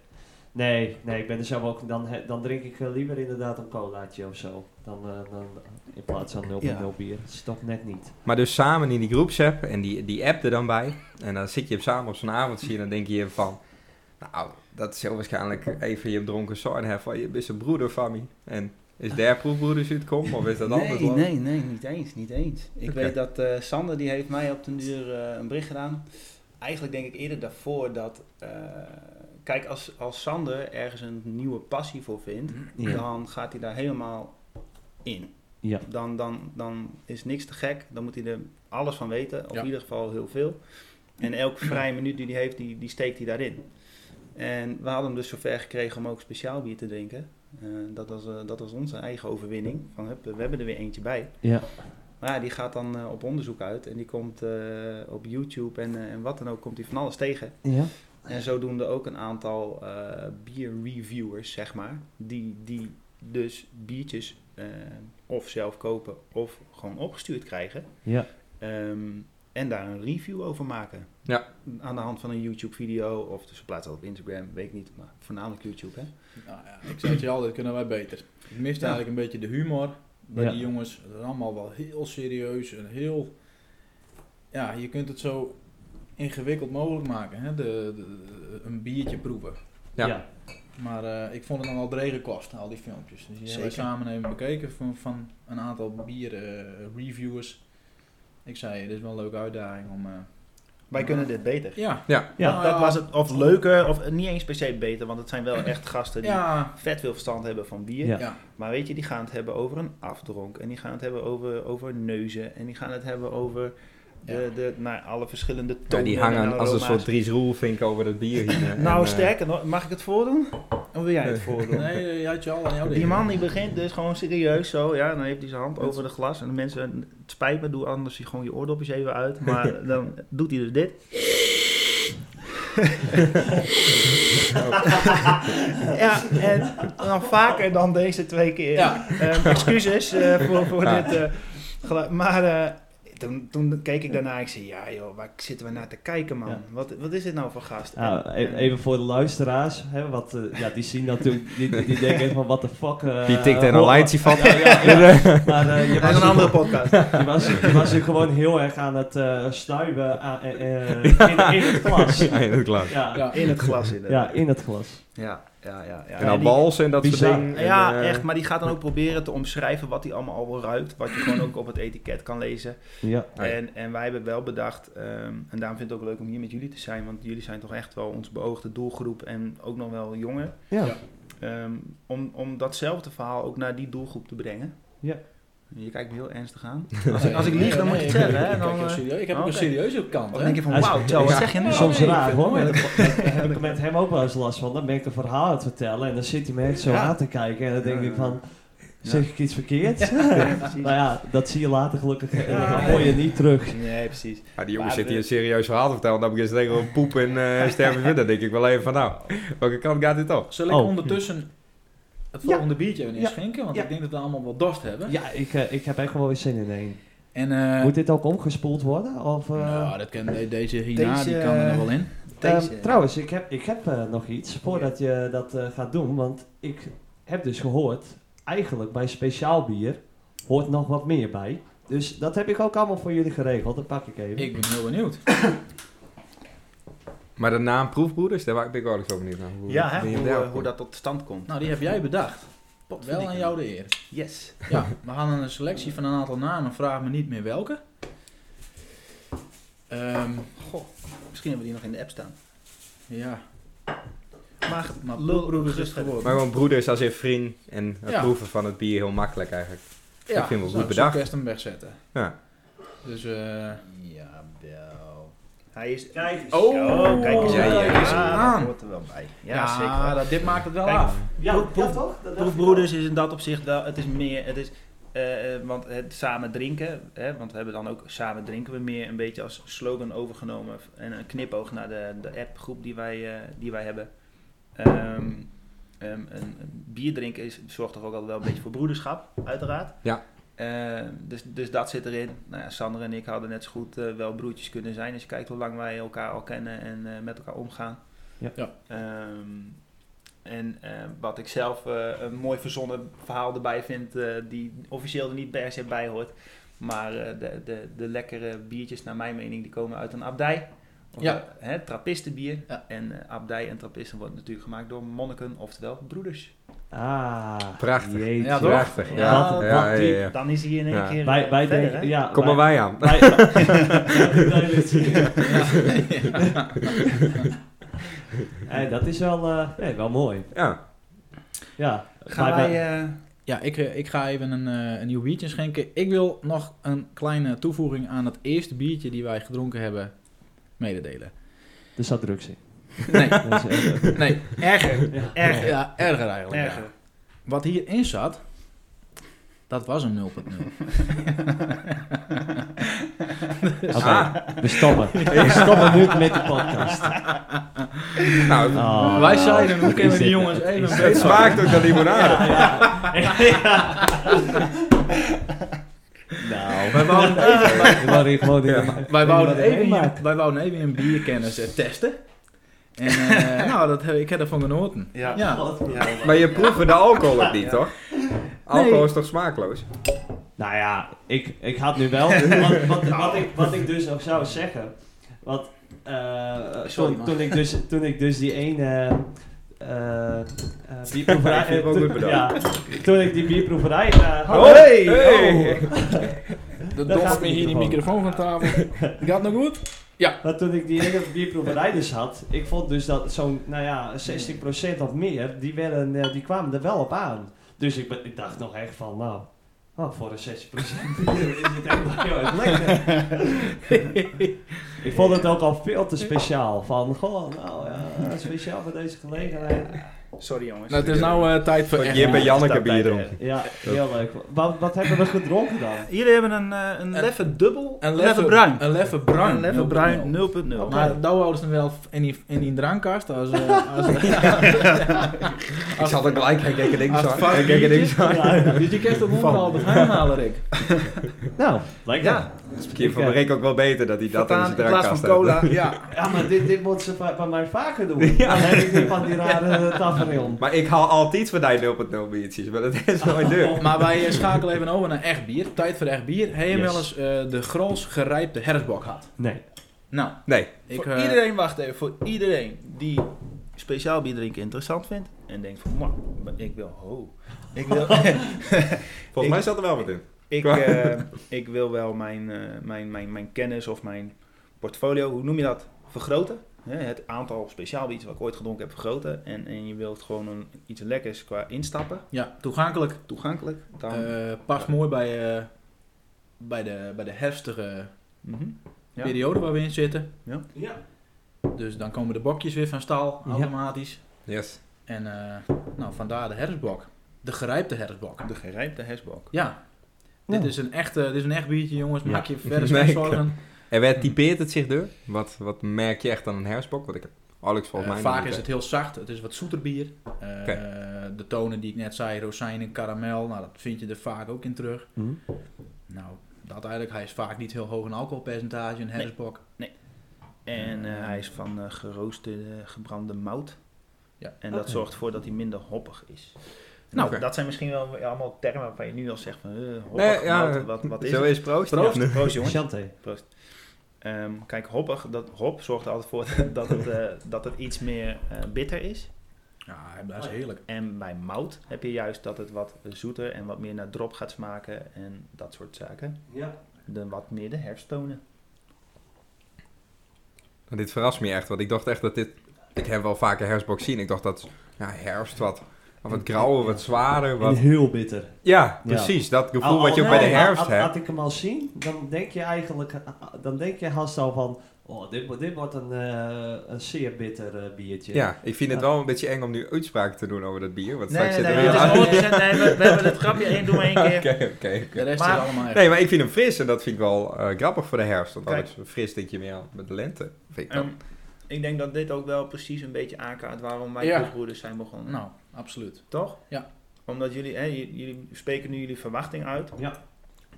A: Nee, nee, ik ben er zelf ook... Dan, he- dan drink ik eh, liever inderdaad een colaatje of zo. Dan, eh, dan in plaats van 0,0
D: Ja.
A: bier. Dat is toch net niet.
B: Maar dus samen in die groepsapp en die, die app er dan bij. En dan zit je hem samen op zo'n avondje en dan denk je van... Nou, dat is heel waarschijnlijk even je dronken zoon hebben van... Je bent een broeder van me. En is der proefbroeders uitkomen of is dat anders?
D: Nee, nee, nee, niet eens, niet eens. Ik
B: Oké.
D: weet dat eh, Sander, die heeft mij op den duur eh, een bericht gedaan. Eigenlijk denk ik eerder daarvoor dat... eh, kijk, als, als Sander ergens een nieuwe passie voor vindt,
A: Ja.
D: dan gaat hij daar helemaal in.
A: Ja.
D: Dan, dan, dan is niks te gek. Dan moet hij er alles van weten. Of
C: Ja.
D: in ieder geval heel veel. En elke vrije minuut die hij heeft, die, die steekt hij daarin. En we hadden hem dus zover gekregen om ook speciaal bier te drinken. Eh, dat, was, eh, dat was onze eigen overwinning. Van, hup, we hebben er weer eentje bij.
A: Ja.
D: Maar ja, die gaat dan eh, op onderzoek uit. En die komt eh, op YouTube en, eh, en wat dan ook, komt hij van alles tegen.
A: Ja.
D: En zodoende ook een aantal eh bierreviewers, zeg maar, die, die dus biertjes eh, of zelf kopen of gewoon opgestuurd krijgen.
A: Ja.
D: Ehm, en daar een review over maken.
B: Ja.
D: Aan de hand van een YouTube-video of dus ze plaatsen dat op Instagram, weet ik niet, maar voornamelijk YouTube. Hè?
C: Nou ja, ik zei het je al, dit kunnen wij beter. Ik miste
D: Ja.
C: eigenlijk een beetje de humor bij
A: Ja.
C: die jongens. Het is allemaal wel heel serieus en heel... Ja, je kunt het zo ingewikkeld mogelijk maken, hè? De, de- een biertje proeven.
B: Ja.
C: Maar eh, ik vond het nogal dregen kost, al die filmpjes. Dus die hebben we
D: Zeker.
C: samen even bekeken van, van een aantal bierreviewers. ik zei, dit is wel een leuke uitdaging om... eh,
D: Wij kunnen dit beter.
C: ja,
A: Ja,
D: dat,
C: nou
D: dat was het, of leuker, of niet eens per se beter, want het zijn wel echt gasten die
C: Ja,
D: vet veel verstand hebben van bier.
A: Ja.
C: Ja.
D: Maar weet je, die gaan het hebben over een afdronk. En die gaan het hebben over, over neuzen. En die gaan het hebben over de,
C: Ja.
D: de, nou, alle verschillende
B: Ja,
D: tonen.
B: die
D: en
B: hangen als een
D: aroma's.
B: soort Dries Roelvink over dat bier hier. En,
D: Nou,
B: eh,
D: sterker nog, mag ik het voordoen? Of wil jij het voordoen?
C: nee, eh, je had je al aan jouw
D: Die
C: ding.
D: man die begint dus gewoon serieus zo, ja, dan heeft hij zijn hand over de glas en de mensen, het spijt me, doe anders je gewoon je oordopjes even uit, maar dan doet hij dus dit. ja, en dan vaker dan deze twee keer.
C: Ja.
D: Ehm, excuses eh, voor, voor
B: Ja.
D: dit eh, geluid. Maar eh, toen, toen keek ik daarna, ik zei, ja joh, waar zitten we naar te kijken man?
A: Ja.
D: Wat, wat is dit nou voor gast?
A: Nou,
D: En-
A: e- even voor de luisteraars, hè, wat, eh, ja, die zien natuurlijk, die, die denken van what the fuck. eh,
B: Die tikt er
A: hoor-
B: een lijntje van.
A: Ja, ja, ja. Maar eh, je,
D: en, dat
A: was
D: is een
A: hier-
D: andere podcast.
A: je, was, je was hier gewoon heel erg aan het eh snuiven aan- eh, eh, in, in het glas.
B: Ja, in het glas.
A: Ja,
C: Ja.
D: In het glas inderdaad.
A: ja, in het glas.
D: Ja, ja, ja. ja.
B: En dan
D: die-
B: balsen en dat soort
A: bizar.
B: dingen. En,
D: ja,
B: eh,
D: echt. Maar die gaat dan ook proberen te omschrijven wat hij allemaal al wel ruikt. Wat je gewoon ook op het etiket kan lezen.
A: Ja,
B: Oh ja.
D: En, en wij hebben wel bedacht, ehm, en daarom vind ik het ook leuk om hier met jullie te zijn. Want jullie zijn toch echt wel onze beoogde doelgroep en ook nog wel jonger.
A: ja.
D: Ehm, om, om datzelfde verhaal ook naar die doelgroep te brengen.
A: Ja.
D: Je kijkt me heel ernstig aan.
C: Als ik,
D: als ik lieg, dan moet je het zeggen, hè?
C: Ik,
D: Dan,
C: kijk heel
D: eh,
C: serieus- ik heb
D: oh,
C: ook een
D: oké.
C: serieuze kant,
D: Dan
C: hè?
D: denk je van,
A: Hij is-
D: wauw, Joe, wat
A: ja.
D: zeg je nu?
C: Nee,
A: Soms
C: ik
A: raar
C: vind het
A: hoor.
C: mooi.
A: Daar heb ik met hem ook wel eens last van. Dan ben ik een verhaal aan het vertellen en dan zit hij me echt zo
D: Ja.
A: aan te kijken. En dan denk ik van,
D: Ja.
A: zeg ik iets verkeerd?
D: Ja, precies.
A: nou ja, dat zie je later gelukkig. eh,
D: Ja.
A: Dat hoor je niet terug.
D: Nee, precies.
B: Ja, die jongen
D: Maar
B: zit hier
D: de-
B: een serieus verhaal te vertellen. Dan begint ze tegen een poep en eh sterven verder. Dan denk ik wel even van, nou, welke kant gaat dit op?
C: Zal ik
A: Oh.
C: ondertussen het
A: Ja.
C: volgende biertje even
A: Ja.
C: inschenken? Want
A: Ja.
C: ik denk dat we allemaal wel dorst hebben.
A: Ja, ik, eh, ik heb echt wel weer zin in één.
C: En eh,
A: Moet dit ook omgespoeld worden? Of, eh,
C: nou, dat kan, de- deze hierna,
D: Deze,
C: die kan er nog wel in.
A: Ehm,
D: Deze.
A: trouwens, ik heb, ik heb eh, nog iets voordat je dat eh, gaat doen. Want ik heb dus gehoord, eigenlijk bij speciaal bier hoort nog wat meer bij. Dus dat heb ik ook allemaal voor jullie geregeld. Dat pak ik even.
C: Ik ben heel benieuwd.
B: Maar de naam Proefbroeders, daar ben ik ook nog zo benieuwd naar. Hoe-
D: Ja, hè,
B: wie
D: hoe,
B: hem daar
D: eh,
B: op
D: hoe
B: komt.
D: dat tot stand komt. Nou,
C: Nou, die heb jij bedacht. Wel aan jou dus. de eer.
D: Yes.
C: Ja, we gaan een selectie van een aantal namen. Vraag me niet meer welke. Ehm,
D: Goh, misschien hebben we die nog in de app staan.
C: ja,
D: Maar,
C: maar
D: lul
C: bloedbroeders is
D: gerust
C: het
D: verder.
B: Maar
C: geworden.
B: gewoon broeders als in vriend en het
C: Ja.
B: proeven van het bier heel makkelijk eigenlijk.
C: Ja,
B: ik vind het wel
C: zou-
B: goed bedacht.
C: zou ik best hem wegzetten.
B: Ja.
C: Dus, eh ja, wel.
D: Hij is...
A: Kijk eens.
D: Oh,
C: Oh,
D: kijk eens
B: ja,
D: aan.
B: ja,
C: ja.
D: dat hoort er wel bij. Ja,
C: Ja,
D: zeker.
C: Dat, dit maakt het wel
D: Kijk,
C: af.
A: Ja,
D: Proef-
A: ja,
D: proef-
A: toch? Dat dacht ik
D: Proefbroeders is in dat opzicht wel... Het is meer... Het is, eh, eh, want het samen drinken, hè, want we hebben dan ook samen drinken we meer een beetje als slogan overgenomen en een knipoog naar de, de appgroep die wij, eh, die wij hebben. Ehm, ehm, een, een bier drinken is, zorgt toch ook altijd wel een beetje voor broederschap, uiteraard.
B: Ja.
D: Eh, dus, dus dat zit erin. Nou ja, Sander en ik hadden net zo goed eh, wel broertjes kunnen zijn. Als je kijkt hoe lang wij elkaar al kennen en eh, met elkaar omgaan.
A: Ja.
C: Ja.
D: Ehm, en eh, wat ik zelf eh, een mooi verzonnen verhaal erbij vind, eh, die officieel er niet per se bij hoort. Maar eh, de, de, de lekkere biertjes, naar mijn mening, die komen uit een abdij. Of,
C: Ja.
D: eh, hè, trappistenbier.
C: Ja.
D: En eh, abdij en trappisten wordt natuurlijk gemaakt door monniken, oftewel broeders.
A: Ah,
B: Prachtig.
A: jeetje.
C: Ja, toch?
B: Prachtig.
D: Ja,
A: wat-
B: ja,
A: wat
B: ja,
A: diep.
B: ja.
D: Dan is hij in één
B: Ja.
D: keer
A: Wij,
D: eh,
A: wij
D: verder,
A: denken,
D: hè?
A: ja,
B: Kom maar
A: wij,
B: wij aan.
A: wij, wij- Hey, dat is wel, eh, nee, wel mooi.
B: Ja,
A: Ja,
D: Gaan
A: Wij-
D: wij... eh,
C: Ja, ik, eh, ik ga even een, eh, een nieuw biertje schenken. Ik wil nog een kleine toevoeging aan het eerste biertje die wij gedronken hebben mededelen.
A: er zat drugs in.
C: Nee,
A: Dat is echt, eh,
C: nee erger.
A: ja.
D: Erger.
C: Ja, erger eigenlijk. ja.
D: erger.
C: Wat hierin zat, dat was een 0.0.
A: Oké,
B: Ah.
A: we stoppen. We stoppen nu met de podcast.
B: nou,
A: Oh.
C: Wij zeiden, hoe kennen we die
A: Is het-
C: jongens even
A: is het-
B: het smaakt ook naar limonade.
A: Nou,
C: Wij wouden even, wij,
A: we waren hier gewoon in de ma-
C: wij wouden
A: Kunnen we er
C: even,
A: een
C: wij wouden even een bierkennis eh, testen. En eh, nou, dat, heb- ik heb ervan genoten.
D: Ja.
B: Maar je proeft de alcohol ook niet,
D: Ja.
B: toch? Alcohol is toch smaakloos?
A: Nou ja, ik, ik had nu wel. Wat, wat, wat, ik, wat ik dus ook zou zeggen. Want eh,
C: Sorry,
A: toen,
C: man.
A: toen, ik dus, toen ik dus die ene. eh eh bierproeverij.
B: Ik vind hem ook
A: eh,
B: goed
A: toen-
B: bedacht.
A: ja, toen ik die bierproeverij eh, had.
B: Hey!
D: oh.
C: Dat
A: Daar
C: doft
A: gaat
C: me
A: de
C: hier die microfoon
A: microfoon.
C: van tafel. Gaat nog goed?
A: Maar toen ik die ene bierproeverij dus had, ik vond dus dat zo'n, nou ja, 60% of meer, die, werden, eh, die kwamen er wel op aan. Dus ik, ben- ik dacht nog echt van, nou, oh, voor een 60% bier is het echt nog heel erg lekker. ik vond het ook al veel te speciaal. Van, goh, nou ja, speciaal voor deze gelegenheid.
D: Sorry jongens.
C: Nou, het is nou eh, tijd voor
B: Van
C: echt
B: Jip en
C: bier.
B: Janneke
D: dat
B: bier
D: bij-
B: dronken.
A: Ja, heel leuk. Wat, wat hebben we gedronken dan?
D: Jullie hebben een, eh, een
C: Een-
D: leffe dubbel,
C: Een
D: leffe
C: leffe
D: bruin.
C: Een leffe bruin.
D: Een leffe bruin
C: 0.0.
D: 0.0. Maar
C: Maar dat houden ze wel in die, in die drankkast. Als, eh, als,
B: Ik zat ook gelijk, ik kijk er niks
C: Als
B: aan.
C: vak
B: Ik kijk er niks aan.
A: Ja,
C: dus je kent het onder Albert Heijn halen, Rick.
A: nou, lekker.
D: Ja.
B: Het is misschien voor Rick eh, ook wel beter dat hij dat in
D: Voortaan,
B: zijn
D: in
B: drankkast
D: plaats van
B: heeft.
D: cola. Ja.
A: Ja, maar dit, dit moet ze bij, bij mij vaker doen. Dan heb ik niet van die rare eh, tafereel.
B: Maar ik haal altijd van die 0.0 biertjes, maar dat is nooit deur.
C: Maar wij eh, schakelen even over naar echt bier. Tijd voor echt bier. Heb je
A: Yes.
C: wel eens eh, de grols gerijpte herfstbok gehad?
A: Nee.
C: Nou,
B: Nee,
C: ik...
D: voor
C: eh,
D: iedereen, wacht even, voor iedereen die speciaal bier drinken interessant vindt en denkt van, "Mwah, maar ik wil, ho, ik wil,
B: volgens mij zat er wel wat in.
D: ik, eh, ik wil wel mijn, eh, mijn, mijn, mijn kennis of mijn portfolio, hoe noem je dat, vergroten. hè, het aantal speciaal biertjes wat ik ooit gedronken heb vergroten. En, en je wilt gewoon een, iets lekkers qua instappen,
C: Ja, toegankelijk.
D: toegankelijk. Dan,
C: Eh, past mooi bij, eh, bij, de, bij de heftige
D: Mhm. Ja.
C: periode waar we in zitten.
A: Ja.
C: Dus dan komen de bokjes weer van stal,
A: Ja.
C: automatisch.
B: Yes.
C: En eh, nou, vandaar de herfstbok. De gerijpte herfstbok.
D: De gerijpte hesbok.
C: Ja.
A: Ja.
C: Dit, is een echt, eh, dit is een echt biertje, jongens.
A: Ja.
C: Maak je verder
B: Nee,
C: geen
B: ik-
C: zorgen.
B: En waar typeert het zich door? Wat, wat merk je echt aan een herfstbok? Wat ik heb Alex volgens
C: Eh,
B: mij
C: vaak
B: niet
C: is het
B: weet.
C: heel zacht. Het is wat zoeter bier. Eh, De tonen die ik net zei, rozijnen, karamel. Nou, dat vind je er vaak ook in terug.
A: Hm?
C: Nou, dat eigenlijk. Hij is vaak niet heel hoog in alcoholpercentage, een herfstbok.
D: En eh, hij is van eh, geroosterde, gebrande mout.
C: Ja.
D: En dat
A: Oké.
D: zorgt ervoor dat hij minder hoppig is.
C: Nou,
D: Nou,
B: Oké.
D: dat zijn misschien wel allemaal termen waarvan je nu al zegt van... eh, hoppig,
B: Nee, ja,
D: mout, wat, wat is
B: Zo
D: het?
B: is proost.
D: Proost,
B: Ja.
D: proost jongens.
A: Chanté.
D: Ehm, kijk, hoppig, dat, hop zorgt er altijd voor dat het, eh, dat het iets meer eh, bitter is.
C: Ja, hij blijft heerlijk.
D: En bij mout heb je juist dat het wat zoeter en wat meer naar drop gaat smaken en dat soort zaken.
A: Ja.
D: De, wat meer de herfsttonen.
B: Nou, dit verrast me echt, want ik dacht echt dat dit... Ik heb wel vaker herfstbok zien. Ik dacht dat ja, herfst wat, wat grauwer, wat zwaarder,
A: En
B: wat...
A: heel bitter.
B: Ja, precies. Dat gevoel
A: Al- al-
B: wat je ook
A: Oh, nee,
B: bij de
A: al-
B: herfst
A: al-
B: hebt.
A: Had ik hem al zien, dan denk je eigenlijk, dan denk je haast al van, oh, dit, wordt- dit wordt een, eh, een zeer bitter eh, biertje.
B: Ja, ik vind het wel een beetje eng om nu uitspraken te doen over dat bier. Want straks zit er
D: nee,
B: weer
D: dit
B: aan.
D: is honderd procent- nee, we, we hebben het grapje één, doe maar één keer.
B: Oké, oké,
C: De
B: oké.
C: rest
D: Maar-
C: is allemaal echt.
B: Nee, maar ik vind hem fris en dat vind ik wel eh, grappig voor de herfst. Want
D: Kijk.
B: anders fris denk je meer aan met de lente. Vind ik dan.
D: Ehm, ik denk dat dit ook wel precies een beetje aankaart waarom mijn
C: Ja.
D: proefbroeders zijn begonnen.
C: Nou, absoluut.
D: Toch?
C: Ja.
D: Omdat jullie, hè, j- jullie spreken nu jullie verwachting uit.
A: Ja.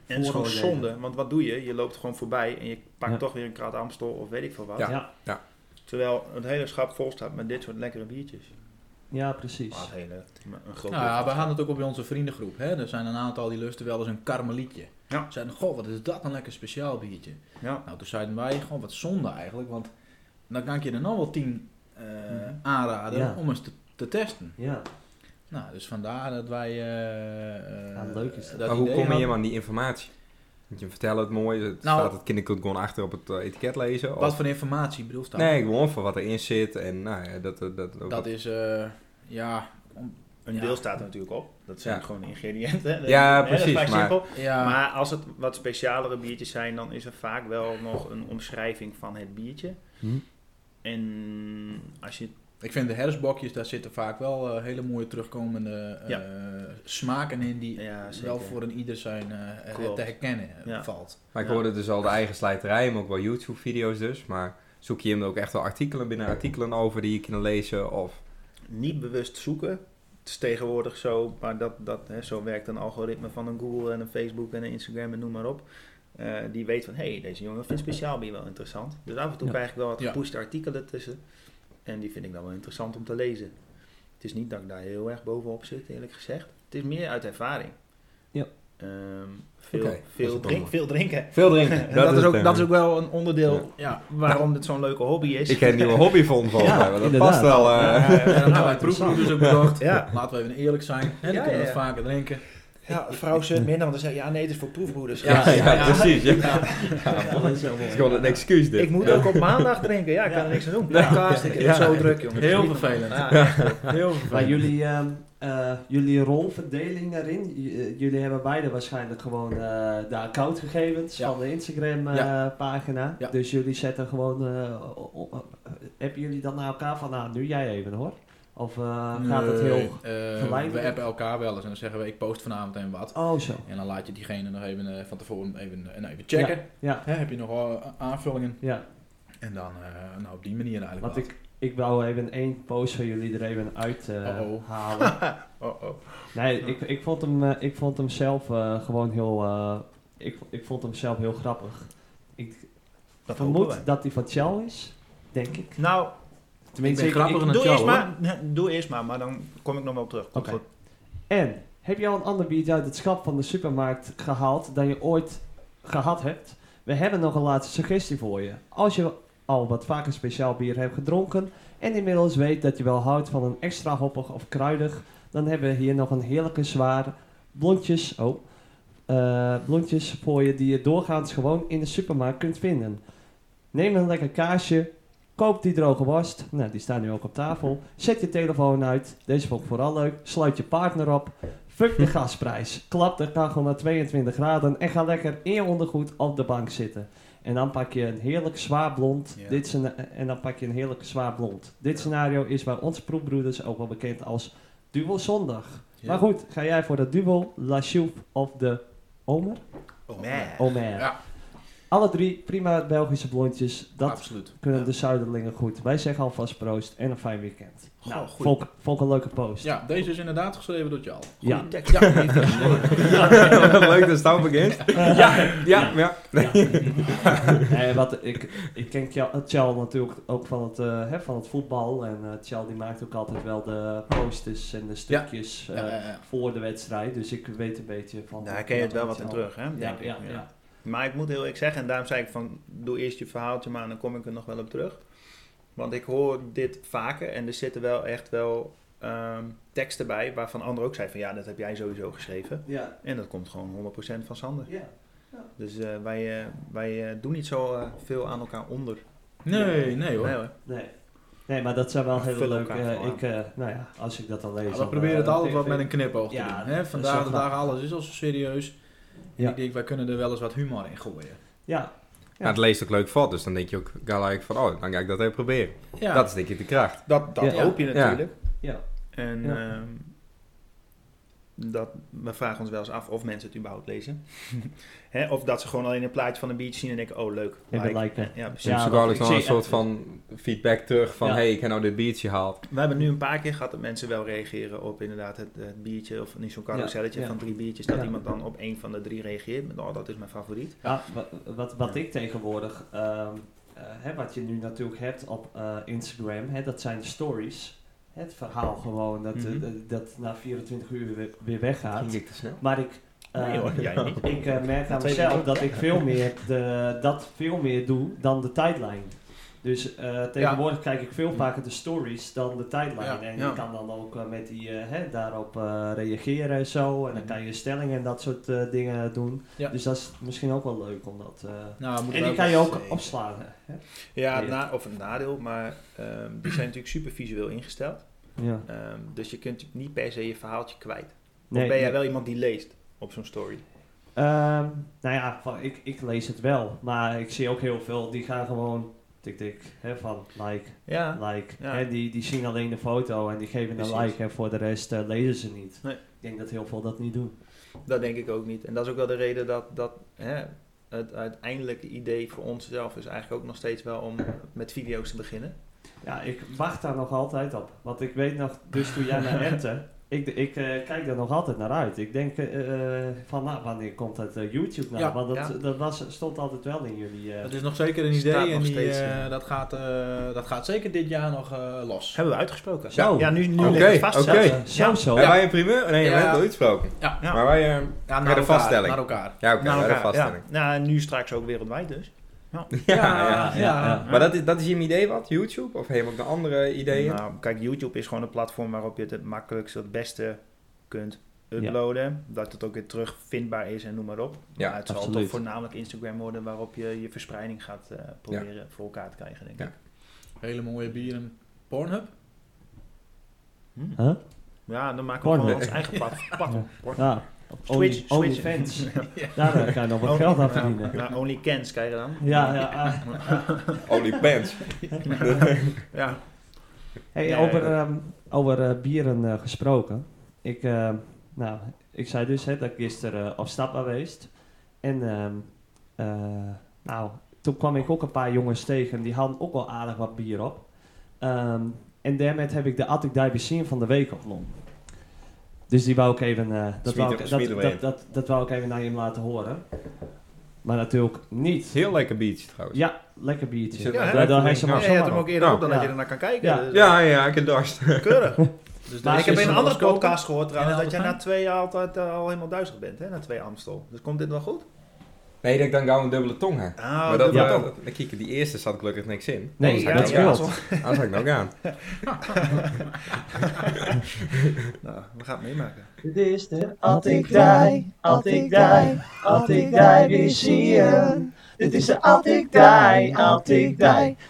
D: En het is gewoon
A: Vooroordelen.
D: zonde, want wat doe je? Je loopt gewoon voorbij en je pakt
A: Ja.
D: toch weer een krat Amstel of weet ik veel wat.
B: Ja.
A: ja,
D: Terwijl het hele schap vol staat met dit soort lekkere biertjes.
A: Ja, precies.
D: Maar het hele, maar een groot
C: Nou,
D: deel
C: ja,
D: van
C: we
D: het
C: hadden het ook op bij onze vriendengroep. Hè? Er zijn een aantal die lusten wel eens een karmelietje.
D: Ja.
C: Ze zeiden, goh, wat is dat een lekker speciaal biertje.
D: Ja.
C: Nou, toen zeiden wij, gewoon wat zonde eigenlijk. Want dan kan ik je er nog wel tien eh,
D: Mhm.
C: aanraden
A: Ja.
C: om eens te, te testen.
A: Ja,
C: Nou, dus vandaar dat wij... eh,
A: Ja,
C: eh,
A: leuk is dat.
B: maar hoe
C: idee
B: kom je
C: hadden.
B: helemaal aan die informatie? Want je vertelt het mooi. Het
C: Nou-
B: staat het kinderkind gewoon achter op het eh, etiket lezen.
C: Wat
B: Of,
C: voor informatie bedoel je?
B: nee, gewoon van wat erin zit. En nou ja, dat... dat, dat,
C: Dat is, eh, ja...
D: Een
C: Ja.
D: deel staat er natuurlijk op. Dat zijn
B: Ja.
D: gewoon de ingrediënten. Dat-
B: Ja,
D: hè, dat is
B: precies,
D: vaak
B: maar-
D: simpel.
C: ja
D: Maar als het wat specialere biertjes zijn, dan is er vaak wel nog een omschrijving van het biertje.
A: Hm.
D: En als je...
C: Ik vind de herfstbokjes, daar zitten vaak wel eh, hele mooie terugkomende eh,
D: Ja.
C: smaken in die
D: Ja, zeker.
C: wel voor een ieder zijn eh,
D: Klopt.
C: te herkennen eh,
D: Ja.
C: valt.
B: Maar ik
D: Ja.
B: hoorde dus al de eigen slijterij, maar ook wel YouTube-video's dus. Maar zoek je hem ook echt wel artikelen binnen artikelen over die je kan lezen? Of
D: niet bewust zoeken. Het is tegenwoordig zo, maar dat, dat, hè, zo werkt een algoritme van een Google en een Facebook en een Instagram en noem maar op. Eh, die weet van, hé, hey, deze jongen vindt speciaal bier wel interessant. Dus af en toe
A: Ja.
D: krijg ik wel wat
C: Ja.
D: gepusht artikelen tussen. En die vind ik dan wel interessant om te lezen. Het is niet dat ik daar heel erg bovenop zit, eerlijk gezegd. Het is meer uit ervaring.
A: Ja.
D: Ehm, veel,
B: Oké, dat is
D: veel,
B: het
D: drink,
B: dan.
D: veel drinken.
B: veel drinken.
D: En dat, is ook,
B: het,
D: dat is
B: eh,
D: ook wel een onderdeel
B: Ja.
C: Ja, Nou,
D: waarom dit zo'n leuke hobby is.
B: Ik heb een nieuwe hobby vond volgens
A: Ja,
B: mij. want Dat
A: inderdaad.
B: past wel. eh,
D: Ja, ja, ja.
C: en dan hebben nou, wij proefbroeders ook bedacht.
D: Ja.
C: Laten we even eerlijk zijn. Hè, dan
D: Ja,
C: kunnen we
D: ja,
C: het
D: ja.
C: vaker drinken.
D: Ja, vrouw zit minder, want dan zeg je, ja nee, het is voor proefbroeders.
B: Ja, ja,
C: Ja, ja.
B: precies. Ja.
A: dat is wel mooi.
B: Het is gewoon een excuus dit.
D: Ik moet ook op maandag drinken. Ja, ik kan er niks aan doen. Podcast, ik heb het
B: Ja.
D: zo druk, jongens.
C: Heel
D: Niet
C: vervelend.
D: normaal. Ja.
C: Heel
A: Maar
C: vervelend.
A: jullie, ehm, eh, jullie rolverdeling daarin, j- eh, jullie hebben beide waarschijnlijk gewoon eh, de accountgegevens
C: Ja.
A: van de
C: Ja.
A: Instagram-pagina.
C: Ja.
A: Dus jullie zetten gewoon. eh, o- o- o- hebben jullie dan naar elkaar van, nou, nu jij even hoor? Of eh, gaat het
C: Nee,
A: heel.
C: eh,
A: geleidelijk?
C: We appen elkaar wel eens en dan zeggen we, ik post vanavond en wat.
A: Oh, zo.
C: En dan laat je diegene nog even eh, van tevoren even, eh, nou, even checken.
A: Ja,
C: Hè, heb je nog wel eh, aanvullingen?
A: ja.
C: En dan eh, nou, op die manier eigenlijk
A: Want
C: wel.
A: ik, ik wou even één post van jullie er even uit eh,
C: Uh-oh.
A: halen.
D: Oh, oh.
A: Nee, ik, ik, vond hem, eh, ik vond hem zelf eh, gewoon heel. eh, ik, ik vond hem zelf heel grappig. Ik
D: Dat hopen
A: vermoed
D: wij.
A: dat hij van Chal is, denk ik.
D: Nou,
A: Tenminste,
C: ben
A: ik-
C: grappiger
A: ik-
C: dan
D: doe
C: Tjal,
D: eerst, maar, Nee, doe eerst maar, maar dan kom ik nog wel op terug. Komt
A: Oké.
D: goed.
A: En heb je al een ander biertje uit het schap van de supermarkt gehaald dan je ooit gehad hebt? We hebben nog een laatste suggestie voor je. Als je al wat vaker speciaal bier hebt gedronken en inmiddels weet dat je wel houdt van een extra hoppig of kruidig, dan hebben we hier nog een heerlijke zware blondjes, oh, eh, blondjes voor je die je doorgaans gewoon in de supermarkt kunt vinden. Neem een lekker kaasje Koop die droge worst. Nou, die staan nu ook op tafel. Zet je telefoon uit. Deze vond ik vooral leuk. Sluit je partner op. Fuck de gasprijs. Klap de kachel naar 22 graden. En ga lekker in je ondergoed op de bank zitten. En dan pak je een heerlijk zwaar blond.
C: Ja.
A: Dit scena- en dan pak je een heerlijk zwaar blond. Dit
C: Ja.
A: scenario is bij ons proefbroeders ook wel bekend als dubbel zondag.
C: Ja.
A: Maar goed, ga jij voor dat dubbel La Chouf of de Omer?
C: Oh,
D: Man.
A: Omer.
C: Ja.
A: Alle drie prima Belgische blondjes. Dat
C: Absoluut.
A: kunnen
C: ja.
A: de Zuiderlingen goed. Wij zeggen alvast proost en een fijn weekend.
C: Goh,
A: nou,
C: goed.
A: vond, ik- vond ik een leuke post.
C: Ja, deze is inderdaad geschreven door Jal.
A: dus- Ja.
D: Goeie tekst. Ja, heeft hij geschreven.
B: Leuk dat Stouw begint. Ja, ja, ja.
A: Nee, wat, ik, ik ken Tjal- eh, Tjal natuurlijk ook van het, eh, hè, van het voetbal. En eh Tjal die maakt ook altijd wel de posters en de stukjes
C: Ja,
A: eh,
C: ja, ja.
A: voor de wedstrijd. Dus ik weet een beetje van...
D: Daar ken je het wel wat in
A: Tjal.
D: terug, hè?
A: Ja,
D: Denk ik.
A: ja, ja.
D: Maar ik moet heel eerlijk zeggen, en daarom zei ik van, doe eerst je verhaaltje maar, en dan kom ik er nog wel op terug. Want ik hoor dit vaker en er zitten wel echt wel ehm, teksten bij waarvan anderen ook zeiden van, ja, dat heb jij sowieso geschreven.
A: Ja,
D: En dat komt gewoon 100% van Sander.
A: ja.
D: Dus eh, wij, eh, wij eh, doen niet zo eh, veel aan elkaar onder.
C: Nee, nee hoor.
D: Nee hoor.
A: Nee. Nee, maar dat zijn wel
D: We
A: hele
D: vullen
A: leuke...
D: elkaar
A: eh,
D: gewoon
A: ik, eh, nou ja, als ik dat dan lees...
C: Ja, we
A: dan,
C: proberen het
A: eh,
C: altijd wat
A: vind-
C: met een knipoog te
A: Ja,
C: doen. Hè?
A: dat
C: Vandaag
A: is
C: de
A: wel
C: dag, alles is al zo serieus.
A: Ja.
C: Ik denk, wij kunnen er wel eens wat humor in gooien.
A: Ja,
B: Ja, het leest ook leuk voor, dus dan denk je ook gelijk van, oh, dan ga ik dat even proberen.
C: Ja,
B: Dat is denk ik de kracht.
D: Dat, dat
A: Ja.
D: hoop je
B: Ja.
D: natuurlijk.
A: Ja.
D: En
A: Ja.
D: ehm, dat, we vragen ons wel eens af of mensen het überhaupt lezen. Hè, of dat ze gewoon alleen een plaatje van een beach zien en denken, oh leuk.
A: even
D: like.
A: lijken.
D: Ja,
B: Ja,
D: precies.
A: Ja,
B: dus ook
A: dat-
B: altijd
A: ik
B: nog een
A: zie-
B: soort van feedback terug van,
A: Ja.
B: hey, ik heb nou dit biertje gehaald.
D: We hebben nu een paar keer gehad dat mensen wel reageren op inderdaad het, het biertje. Of niet zo'n carouselletje
A: Ja, ja.
D: van drie biertjes. Dat
A: Ja.
D: iemand dan op één van de drie reageert met, oh dat is mijn favoriet.
A: Ja, wa- wat, wat ik tegenwoordig, ehm, eh, hè, wat je nu natuurlijk hebt op eh, Instagram, hè, dat zijn de stories. Het verhaal gewoon dat, eh,
C: Mhm.
A: dat- dat na 24 uur weer, weer weggaat.
B: ik te snel?
A: Maar ik, eh,
D: Nee hoor, jij niet.
A: ik eh, merk aan
D: Twee
A: mezelf
D: minuten.
A: dat ik veel meer de, dat veel meer doe dan de tijdlijn. Dus eh, tegenwoordig kijk ik veel vaker de stories dan de tijdlijn.
C: Ja,
A: en
D: ja.
A: je kan dan ook eh, met die, eh, hè, daarop eh, reageren en zo. En dan
D: Mhm.
A: kan je stellingen en dat soort eh, dingen doen.
C: Ja.
A: Dus dat is misschien ook wel leuk om dat... eh,
C: nou, moeten
A: en
C: we
A: die kan je ook
D: eh,
C: eens-
A: opslaan. Hè?
D: Ja,
A: Ja.
D: na- of een nadeel, maar ehm, die zijn natuurlijk super visueel ingesteld.
A: Ja.
D: Ehm, dus je kunt niet per se je verhaaltje kwijt.
A: Nee,
D: of ben jij
A: nee.
D: wel iemand die leest op zo'n story?
A: Ehm, nou ja, van, ik, ik lees het wel. Maar ik zie ook heel veel, die gaan gewoon tik tik. Hè, van like,
D: Ja,
A: like.
D: Ja.
A: Hè, die, die zien alleen de foto en die geven
D: Precies.
A: een like. En voor de rest eh, lezen ze niet.
D: Nee.
A: Ik denk dat heel veel dat niet doen.
D: dat denk ik ook niet. En dat is ook wel de reden dat, dat hè, het uiteindelijke idee voor onszelf is eigenlijk ook nog steeds wel om met video's te beginnen.
A: Ja, ik wacht daar nog altijd op. Want ik weet nog, dus toen jij naar Ente... Ik, ik eh, kijk daar nog altijd naar uit. Ik denk eh, eh, van, nou, wanneer komt het eh, YouTube nou?
C: Ja,
A: Want dat,
D: ja.
A: dat was, stond altijd wel in jullie... eh,
C: Dat is nog zeker een
D: Staat
C: idee
D: nog
C: en die,
D: steeds,
C: eh,
D: ja.
C: dat, gaat, eh, dat gaat zeker dit jaar nog eh, los.
D: Hebben we uitgesproken.
A: Zo.
D: Ja, nu, nu
B: Oké,
D: ligt het vast
B: oké.
D: zelfs.
A: eh, zo, zo.
B: Hebben wij een primeur? Nee, wij
C: Ja.
B: hebben het uitsproken.
C: Ja.
D: Ja.
B: Maar wij... eh,
C: Ja,
B: Bij de
C: elkaar,
B: vaststelling.
C: Naar elkaar.
B: ja, oké,
D: Naar
B: wij de
D: elkaar,
B: vaststelling.
D: ja. Nou, en nu straks ook wereldwijd dus.
B: Ja,
C: Ja,
B: ja.
A: ja, ja.
B: Maar dat is, dat is je idee wat? YouTube? Of heb je ook nog andere ideeën?
D: Nou, kijk, YouTube is gewoon een platform waarop je het het makkelijkst, het beste kunt uploaden. Dat het ook weer terug vindbaar is en noem maar op.
B: Ja,
D: maar het zal
A: absoluut.
D: toch voornamelijk Instagram worden waarop je je verspreiding gaat eh, proberen voor elkaar te krijgen, denk
B: Ja.
D: ik.
C: Hele mooie bieren. Pornhub?
D: Hm.
A: Huh?
D: Ja, dan maken we
A: Porn.
D: gewoon ons eigen plat. plat-
A: Ja.
D: plat-
A: Ja,
D: Switch,
A: only,
D: switch.
A: fans. Daar eh, kan je nog wat geld aan verdienen.
D: Oh. Ja, nou, only cans krijg je dan.
A: Ja, ja. ah.
B: OnlyFans.
D: Ja.
A: Hey,
D: Nee,
A: over,
D: dat-
A: ehm, over eh, bieren eh, gesproken. Ik, ehm, nou, ik zei dus hè, dat ik gisteren eh, op stap was geweest. En ehm, eh, nou, toen kwam ik ook een paar jongens tegen. Die hadden ook wel aardig wat bier op. Ehm, en daarmee heb ik de Attic Diabetes van de week opgenomen. Dus die wou ik even, eh, dat, wou ik,
B: Smieten-
A: dat,
B: smieten we
A: dat,
B: in.
A: dat, dat wou ik even naar je laten horen. Maar natuurlijk niet.
B: Heel lekker biertje trouwens.
A: Ja, lekker biertje.
B: Zit
D: er
A: Ja,
D: echt
A: daar- daar
B: een
A: heeft ze
B: link
A: maar
D: je hebt
A: zomaar
D: hem
A: op.
D: ook eerder
B: Ja.
D: op dan dat
A: Ja.
D: je ernaar kan kijken.
A: Ja.
D: Dus,
B: Ja, ja, ik heb dorst.
D: Keurig.
C: Dus
A: Maar
C: deze
D: ik heb
C: is
D: in een
C: nog
D: andere
C: goedkoper.
D: podcast gehoord trouwens
C: En
D: dat jij
C: Albert
D: na twee jaar altijd eh, al helemaal duizelig bent, hè? Na twee Amstel. Dus komt dit wel goed?
B: Nee, dat ik dan gauw een dubbele tong heb.
D: Ah,
B: maar dat,
A: Oh, dubbele
B: ja.
A: tong.
B: dat, dat- kijk, die eerste zat gelukkig niks in.
A: Nee,
B: Anders had ik
A: dat
B: nog
A: scheelt.
B: gaan. Anders had ik nog aan.
D: Nou, we gaan het meemaken.
A: Dit is de
E: At ik die, at ik die, at ik die weer zie je. Dit is de at ik die, at ik die,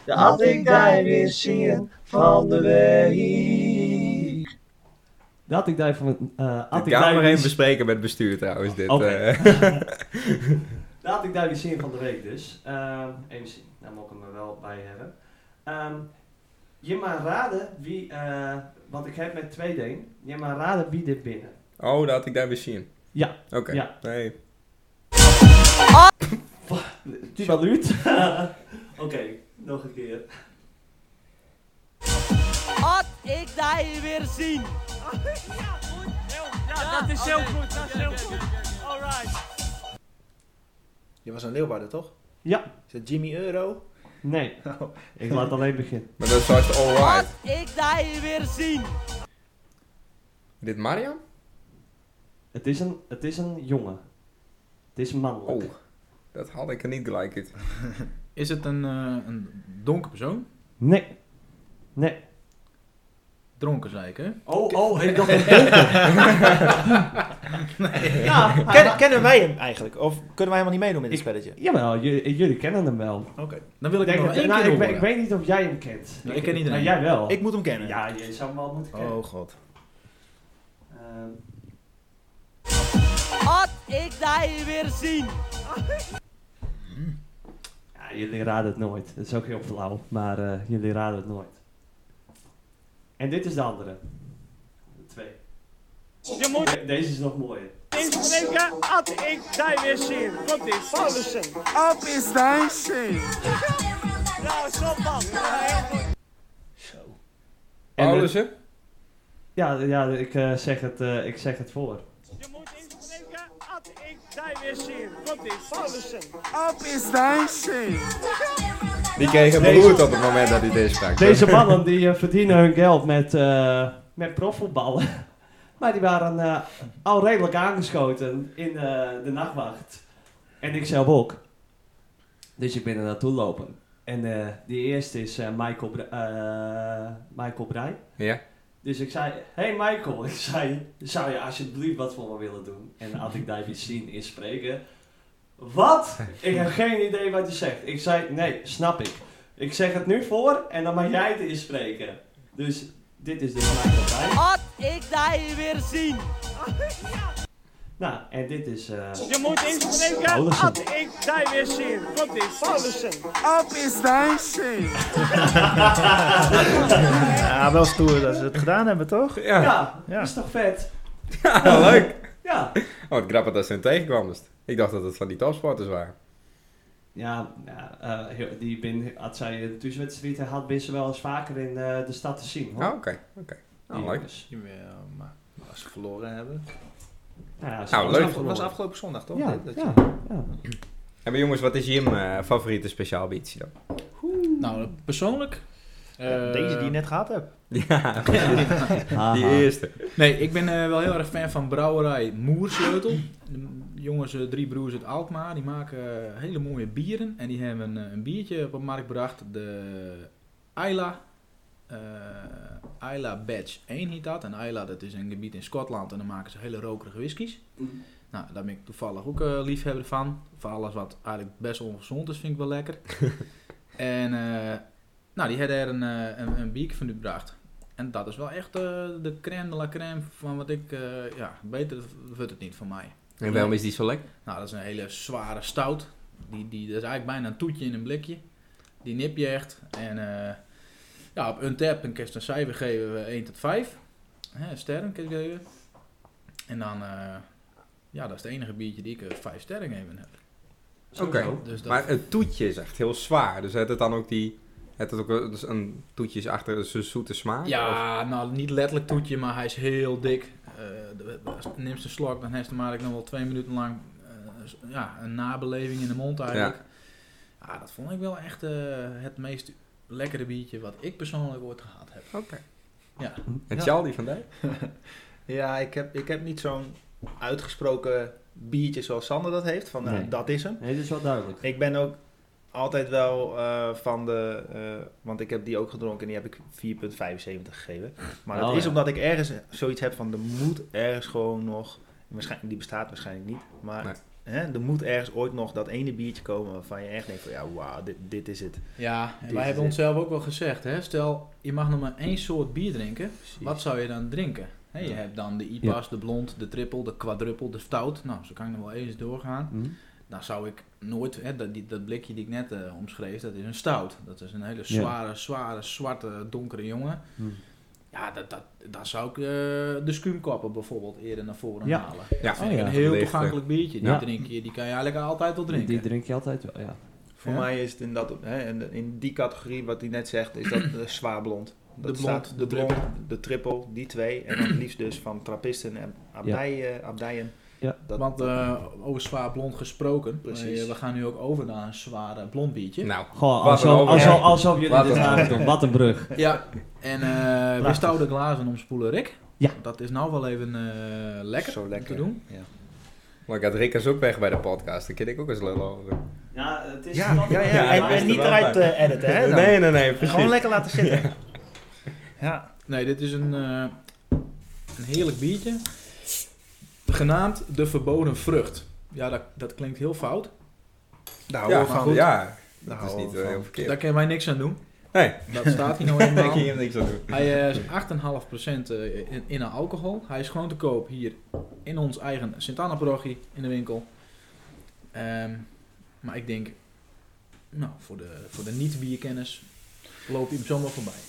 E: de at ik die weer zie je van de week.
A: Dat ik daar van... eh
B: Ik
A: had ik
B: ga
A: daar
B: maar
A: weer
B: even bespreken met het bestuur trouwens. Dit,
A: Oké.
B: eh.
A: Laat ik daar die zin van de week dus. Ehm, even zien, daar moet ik hem er wel bij hebben. Ehm, je mag raden wie, eh, want ik heb met twee dingen. Je mag raden wie dit binnen.
B: oh, dat had ik daar weer zien.
A: Ja.
B: Oké.
A: Ja.
B: Nee.
A: Tuvaluut. Oké, nog een keer.
F: At ik die weer zien. Ja, dat is heel goed, dat is heel goed. Alright.
D: Je was een Leeuwarden, toch?
A: Ja.
D: Is dat Jimmy Euro?
A: Nee,
D: Nou,
A: ik laat alleen beginnen.
B: Maar dat is zoals
F: At
B: alright.
F: ik die weer zien.
B: Dit Mariam?
A: Het is een, het is een jongen. Het is mannelijk.
B: Oh, dat had ik er niet gelijk uit.
C: Is het een, eh een donker persoon?
A: Nee. Nee.
C: Dronken, zei ik, hè?
A: Oh, oh, ik dacht een donker. Ja, hij
D: Ken-
A: wa-
D: kennen wij hem eigenlijk? Of kunnen wij helemaal niet meedoen met dit
A: Ik-
D: spelletje?
A: Jawel, jullie, jullie kennen hem wel.
D: Oké.
C: Dan wil ik
A: Denk
C: nog
A: dat-
C: één
A: nou,
C: keer
A: ik,
C: horen.
A: weet- ik weet niet of jij hem kent.
C: Nee, ik ken iedereen.
A: Maar jij wel.
D: Ik moet hem kennen.
A: ja, je zou hem wel moeten kennen.
C: Oh god.
A: Ehm,
F: At ik die weer zien.
A: ja, jullie raden het nooit. Dat is ook heel flauw, maar eh, jullie raden het nooit. En dit is de andere. De twee.
F: Je moet
A: De- deze is nog mooier.
F: inspreken. At ik die weer zien. Komt ie, Paulussen.
G: Up is thine shame.
F: Nou, zo man. Ja, heel goed.
D: Zo.
A: En, eh,
B: Paulussen?
A: ja, ja ik, eh, zeg het, eh, ik zeg het voor.
F: Je moet inspreken. At ik die weer zien. Komt ie, Paulussen.
G: Up is thine shame.
B: Die kreeg een
A: Deze-
B: beroerd op het moment dat hij deze sprak.
A: Deze mannen die eh, verdienen hun geld met, eh met profvoetballen. maar die waren eh, al redelijk aangeschoten in eh, de nachtwacht. En ik zelf ook. Dus ik ben er naartoe lopen. En eh, die eerste is eh, Michael, Bre- eh, Michael Breij.
B: Ja.
A: Dus ik zei, hey Michael, ik zei, zou je alsjeblieft wat voor me willen doen? En had ik daar iets zien in spreken. Wat? Ik heb geen idee wat je zegt. Ik zei, nee, snap ik. Ik zeg het nu voor en dan mag jij het inspreken. Dus dit is dus Michael Breij.
F: At ik die weer zien.
A: Nou, en dit is... eh,
F: Je moet inspreken.
A: Paulussen.
F: At ik die weer zien. Komt ie, Paulussen.
G: Up is thine shame.
D: Ja, wel stoer dat ze het gedaan hebben, toch?
B: Ja.
A: ja,
D: Ja.
A: is toch vet?
B: Ja, leuk.
A: Ja.
B: Oh, wat grappig dat ze hem tegenkwamst. Ik dacht dat het van die topsporters waren.
A: Ja, ja eh, heel- die bin, had zij een thuiswedstrijd en had, ben ze wel eens vaker in eh, de stad te zien.
B: Oh,
A: Hoor.
B: oké. Oké. Nou,
A: Die
B: leuk.
A: jongens.
C: Ja, maar...
D: eh, Als ze verloren hebben.
A: Ja, ze
B: Nou,
A: was
B: leuk.
A: afgelopen.
D: Dat was afgelopen zondag, toch?
A: Ja,
D: Dit- dat je-
A: ja, ja.
B: En maar jongens, wat is Jim eh, favoriete speciaal biertje dan?
C: Nou, persoonlijk... eh,
D: Deze die je net gehad hebt.
B: Ja, die
A: Haha.
B: eerste.
C: Nee, ik ben eh, wel heel erg fan van brouwerij Moersleutel. De jongens, eh, drie broers uit Alkmaar, die maken eh, hele mooie bieren. En die hebben eh, een biertje op de markt gebracht. De Isla. eh Isla Badge 1 heet dat. En Isla, dat is een gebied in Schotland. En dan maken ze hele rokerige whiskies. Nou, daar ben ik toevallig ook eh, liefhebber van. Voor alles wat eigenlijk best ongezond is, vind ik wel lekker. en eh, nou, die hebben er een, eh, een, een biertje van u gebracht. En dat is wel echt eh, de crème de la crème van wat ik... eh, ja, beter wordt het niet van mij.
B: En waarom is die zo lekker?
C: Nou, dat is een hele zware stout. Die, die, dat is eigenlijk bijna een toetje in een blikje. Die nip je echt. En eh, ja, op Untap een kun je een cijfer geven eh, 1 tot 5. Hè, sterren kun je geven. En dan... eh, ja, dat is het enige biertje die ik eh, 5 sterren geven heb.
B: Oké.
C: Dus dat,
B: Maar het toetje is echt heel zwaar. Dus heeft het dan ook die... Het is ook een, dus een toetjes achter zo'n zoete smaak? Of-
C: Ja, nou niet letterlijk toetje, maar hij is heel dik. Eh, de- als je neemt een slok, dan heeft hij maar nog wel twee minuten lang eh, s- ja, een nabeleving in de mond eigenlijk. Ja. dat vond ik wel echt eh, het meest lekkere biertje wat ik persoonlijk ooit gehad heb.
B: Oké.
C: Ja.
B: En
D: Ja.
B: Charlie van Dijk?
D: Ja, ik heb, ik heb niet zo'n uitgesproken biertje zoals Sander dat heeft. Van, nou,
A: Nee.
D: dat is hem.
A: Nee, dat is wel duidelijk.
D: Ik ben ook altijd wel eh, van de... eh, want ik heb die ook gedronken en die heb ik 4,75 gegeven. Maar dat
A: Oh,
D: is
A: ja.
D: omdat ik ergens zoiets heb van... Er moet ergens gewoon nog... Waarschijnlijk, die bestaat waarschijnlijk niet. Maar
B: Nee.
D: hè, er moet ergens ooit nog dat ene biertje komen... waarvan je echt denkt van... Ja, wauw, dit, dit is het.
C: Ja, en
D: Dit
C: wij
D: is
C: hebben
D: het.
C: onszelf ook wel gezegd, hè? stel je mag nog maar één soort bier drinken,
D: Precies.
C: wat zou je dan drinken? Hè, je
D: Ja.
C: hebt dan de IPA's, de blond, de triple, de quadruple, de stout. Nou, zo kan ik nog wel eens doorgaan.
A: Hm?
C: Nou zou ik nooit, hè, dat, die, dat blikje die ik net eh, omschreef, dat is een stout. Dat is een hele
A: Ja.
C: zware, zware, zwarte, donkere jongen.
A: Hm.
C: Ja, dat, dat, daar zou ik eh, de skuumkoppen bijvoorbeeld eerder naar voren
A: Ja. Oh,
C: halen.
B: Ja,
C: Vind ik
A: ja.
C: een heel
B: Lichte.
C: toegankelijk biertje. Die,
A: Ja.
C: drink je, die kan je eigenlijk altijd wel drinken.
A: Die drink je altijd wel, ja.
D: Voor
C: Ja?
D: mij is het in, dat, hè, in- in die categorie wat hij net zegt... is dat eh, zwaar blond. Dat
C: De blond,
D: staat-
C: de triple.
D: de triple, die twee. En dan het liefst dus van trappisten en abdijen. abdijen.
A: Ja.
D: Dat-
C: Want eh, over zwaar blond gesproken,
D: Precies.
C: eh, we gaan nu ook over naar een zware blond biertje.
B: Nou,
A: Gewoon,
B: Wat een
A: alsof,
B: overgang.
A: alsof, alsof jullie
B: Wat
A: dit
B: een
A: zagen
B: overgang.
A: doen. Wat een brug.
C: Ja, en eh we
A: Prachtig.
C: stouden glazen omspoelen, Rick.
A: Ja.
C: Dat is nou wel even eh, lekker,
D: Zo lekker.
C: om te doen.
D: Ja.
B: maar ik had Rickers ook weg bij de podcast. Dan kan ik ook eens lullen over.
A: Ja, het is
D: Ja, ja, ja,
B: Ja,
D: en,
B: hij is
D: en
B: er
D: niet
B: wel
D: eruit
B: bij.
D: eh, editen, hè? dan.
B: Nee, nee, nee,
D: Gewoon
B: precies.
D: lekker laten zitten. Ja.
C: Nee, dit is een, eh, een heerlijk biertje. Genaamd de verboden vrucht. Ja, dat, dat klinkt heel fout.
D: daar houden
B: Ja,
D: we
B: maar
D: van.
B: goed, ja,
D: Daar
B: dat is
D: houden we
B: niet eh,
D: van.
B: heel verkeerd.
C: Daar kunnen wij niks aan doen.
B: Nee,
C: Dat staat hier nou
B: ik
C: eenmaal.
B: kan hier niks aan doen.
C: Hij is 8,5% eh, in, in aan alcohol. Hij is gewoon te koop hier in ons eigen sint anna parochie in de winkel. Ehm, maar ik denk, nou, voor de, voor de niet-bierkennis loop je hem zomaar voorbij.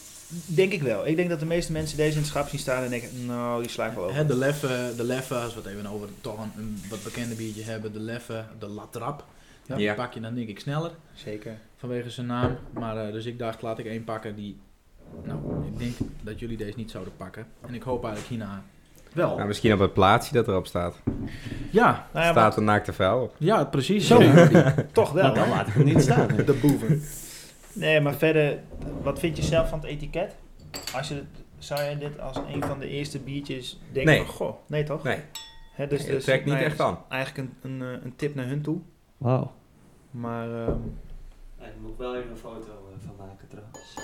D: Denk ik wel. Ik denk dat de meeste mensen deze in het schap zien staan en denken, nou, die sla ik wel
C: Hè,
D: over.
C: de leffe, de leffe, als we het even over toch een, een wat bekende biertje hebben, de leffe, de latrap. Ja,
B: Ja.
C: pak je dan denk ik sneller
D: Zeker.
C: vanwege zijn naam. Maar eh, dus ik dacht, laat ik één pakken die, nou, ik denk dat jullie deze niet zouden pakken. En ik hoop eigenlijk hierna wel.
B: Nou, misschien op het plaatsje dat erop staat.
C: Ja,
D: Nou ja, maar
B: Staat een naakte vuil op.
C: ja, precies.
A: Zo.
C: Ja.
D: toch wel,
A: Maar dan
D: hè?
A: laat ik hem niet staan.
D: De boeven. Nee, maar verder, wat vind je zelf van het etiket? Als je het, zou je dit als een van de eerste biertjes denken
B: Nee.
D: van, goh, nee toch?
B: Nee,
D: Hè,
B: dus, het trekt niet
D: nou ja,
B: echt aan.
D: Eigenlijk een, een, eh, een tip naar hun toe.
A: Wauw.
D: Maar ehm,
A: Ik moet wel even een foto eh, van maken trouwens.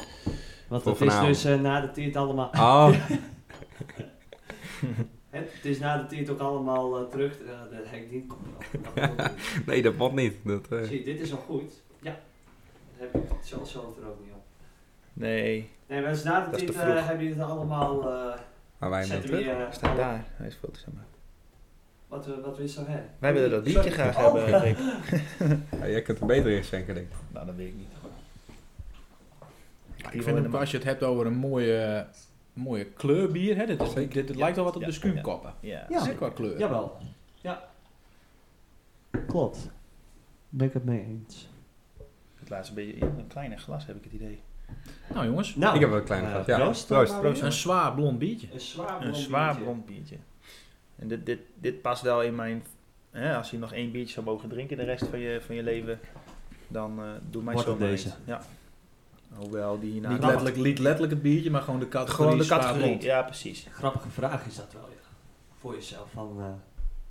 A: Want
B: Voor
A: het is
B: vanavond.
A: dus eh, na de tiert allemaal...
B: Oh,
A: Het, het is na de tiert ook allemaal eh, terug. eh, dat heb ik niet. dat komt wel goed.
B: nee, dat pot niet. Dat, eh,
A: Zie, dit is al goed. Ja. Dan heb ik het zo, zo er ook niet op.
D: nee,
A: Nee, maar dus na de
D: Dat is
A: tiert
D: te vroeg.
A: eh, hebben jullie het allemaal... eh
B: maar wij
A: zetten
B: moeten
A: we hier, eh,
D: staat daar. Hij is veel te zeg maar.
A: Wat, we- wat we zo hebben.
D: Wij willen dat biertje graag
A: Oh.
D: hebben, Rick.
B: Ja, jij kunt er beter in schenken, denk ik.
D: Nou, dat weet ik niet.
C: Ik vind het, als je het hebt over een mooie, mooie kleurbier, hè, dit, is- dit, dit lijkt al wat op
D: Ja,
C: de skuumkoppen.
D: Ja.
A: Ja.
C: Zeker qua kleur.
A: Jawel. Ja. Klopt. Ben ik het mee eens.
D: Het laatste beetje in een kleiner glas heb ik het idee.
C: Nou jongens,
A: Nou,
B: Ik heb wel een klein
A: eh,
B: gehad, ja.
A: Proost. dan
B: Proost.
A: maar
D: Proost.
A: weer.
C: een zwaar blond biertje.
A: Een zwaar
D: Een
A: blond
D: zwaar
A: biertje.
D: blond biertje. En dit, dit, dit past wel in mijn. Hè, als je nog één biertje zou mogen drinken de rest van je, van je leven, dan eh doe mij
A: Wordt
D: zo
A: het
D: maar
A: deze.
D: eens. Ja. Hoewel die hierna.
C: niet, letterlijk, niet letterlijk het biertje, maar gewoon de categorie
D: Nou, Gewoon de
C: zwaar
D: categorie.
C: blond.
D: Ja, precies.
A: Grappige vraag is dat wel, ja. Voor jezelf, van eh,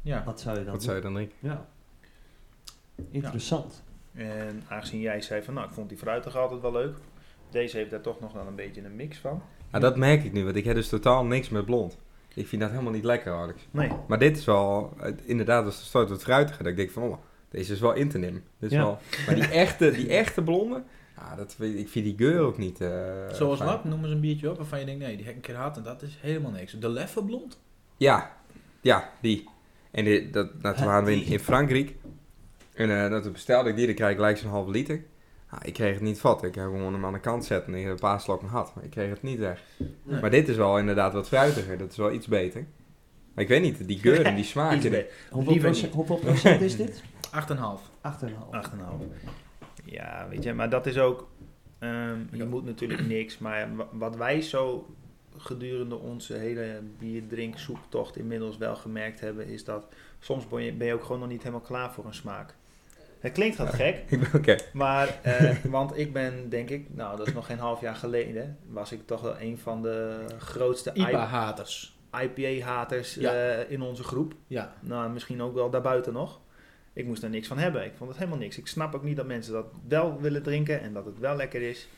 C: Ja.
A: wat zou je dan
B: Wat
A: doen?
B: zou je dan drinken?
A: Ja. Interessant.
D: En aangezien jij zei van, nou, ik vond die fruitig altijd wel leuk. Deze heeft daar toch nog wel een beetje een mix van.
B: Nou, dat merk ik nu, want ik heb dus totaal niks met blond. Ik vind dat helemaal niet lekker, Alex.
D: Nee.
B: Maar dit is wel, het- inderdaad, als de start wat fruitiger. Dat ik denk van, oh, deze is wel in te nemen. Dit is
A: Ja.
B: wel, maar die echte, die echte blonde, ja, dat, weet- ik vind die geur ook niet eh,
C: Zoals
B: fijn.
C: wat, noemen ze een biertje op waarvan je denkt, nee, die heb ik een keer gehad en dat is helemaal niks. De leffe blond?
B: Ja, ja, die. En die, dat, dat
A: Hè,
B: waren we in,
A: die?
B: in Frankrijk. En eh dat bestelde ik die, dan krijg ik gelijk zo'n halve liter. Ah, ik kreeg het niet vat. Ik heb gewoon hem aan de kant zetten en ik heb een paar slokken had. Maar ik kreeg het niet weg.
A: Nee.
B: Maar dit is wel inderdaad wat fruitiger. Dat is wel iets beter. Maar ik weet niet, die geur en die smaak.
D: Iets
B: en-
D: be-
A: Hoeveel,
D: Liever
A: procent, hoeveel procent is dit? 8,5.
C: 8,5.
D: 8,5. Ja, weet je, maar dat is ook. ehm, je moet natuurlijk niks, maar wa- wat wij zo gedurende onze hele bierdrinkzoektocht inmiddels wel gemerkt hebben, is dat soms ben je, ben je ook gewoon nog niet helemaal klaar voor een smaak. Het klinkt wat gek,
B: Ik ben oké.
D: maar eh, want ik ben denk ik, nou dat is nog geen half jaar geleden, was ik toch wel een van de grootste
C: IPA-haters.
D: IPA-haters
C: Ja.
D: eh, in onze groep.
C: Ja,
D: Nou, misschien ook wel daarbuiten nog. Ik moest er niks van hebben. Ik vond het helemaal niks. Ik snap ook niet dat mensen dat wel willen drinken en dat het wel lekker is.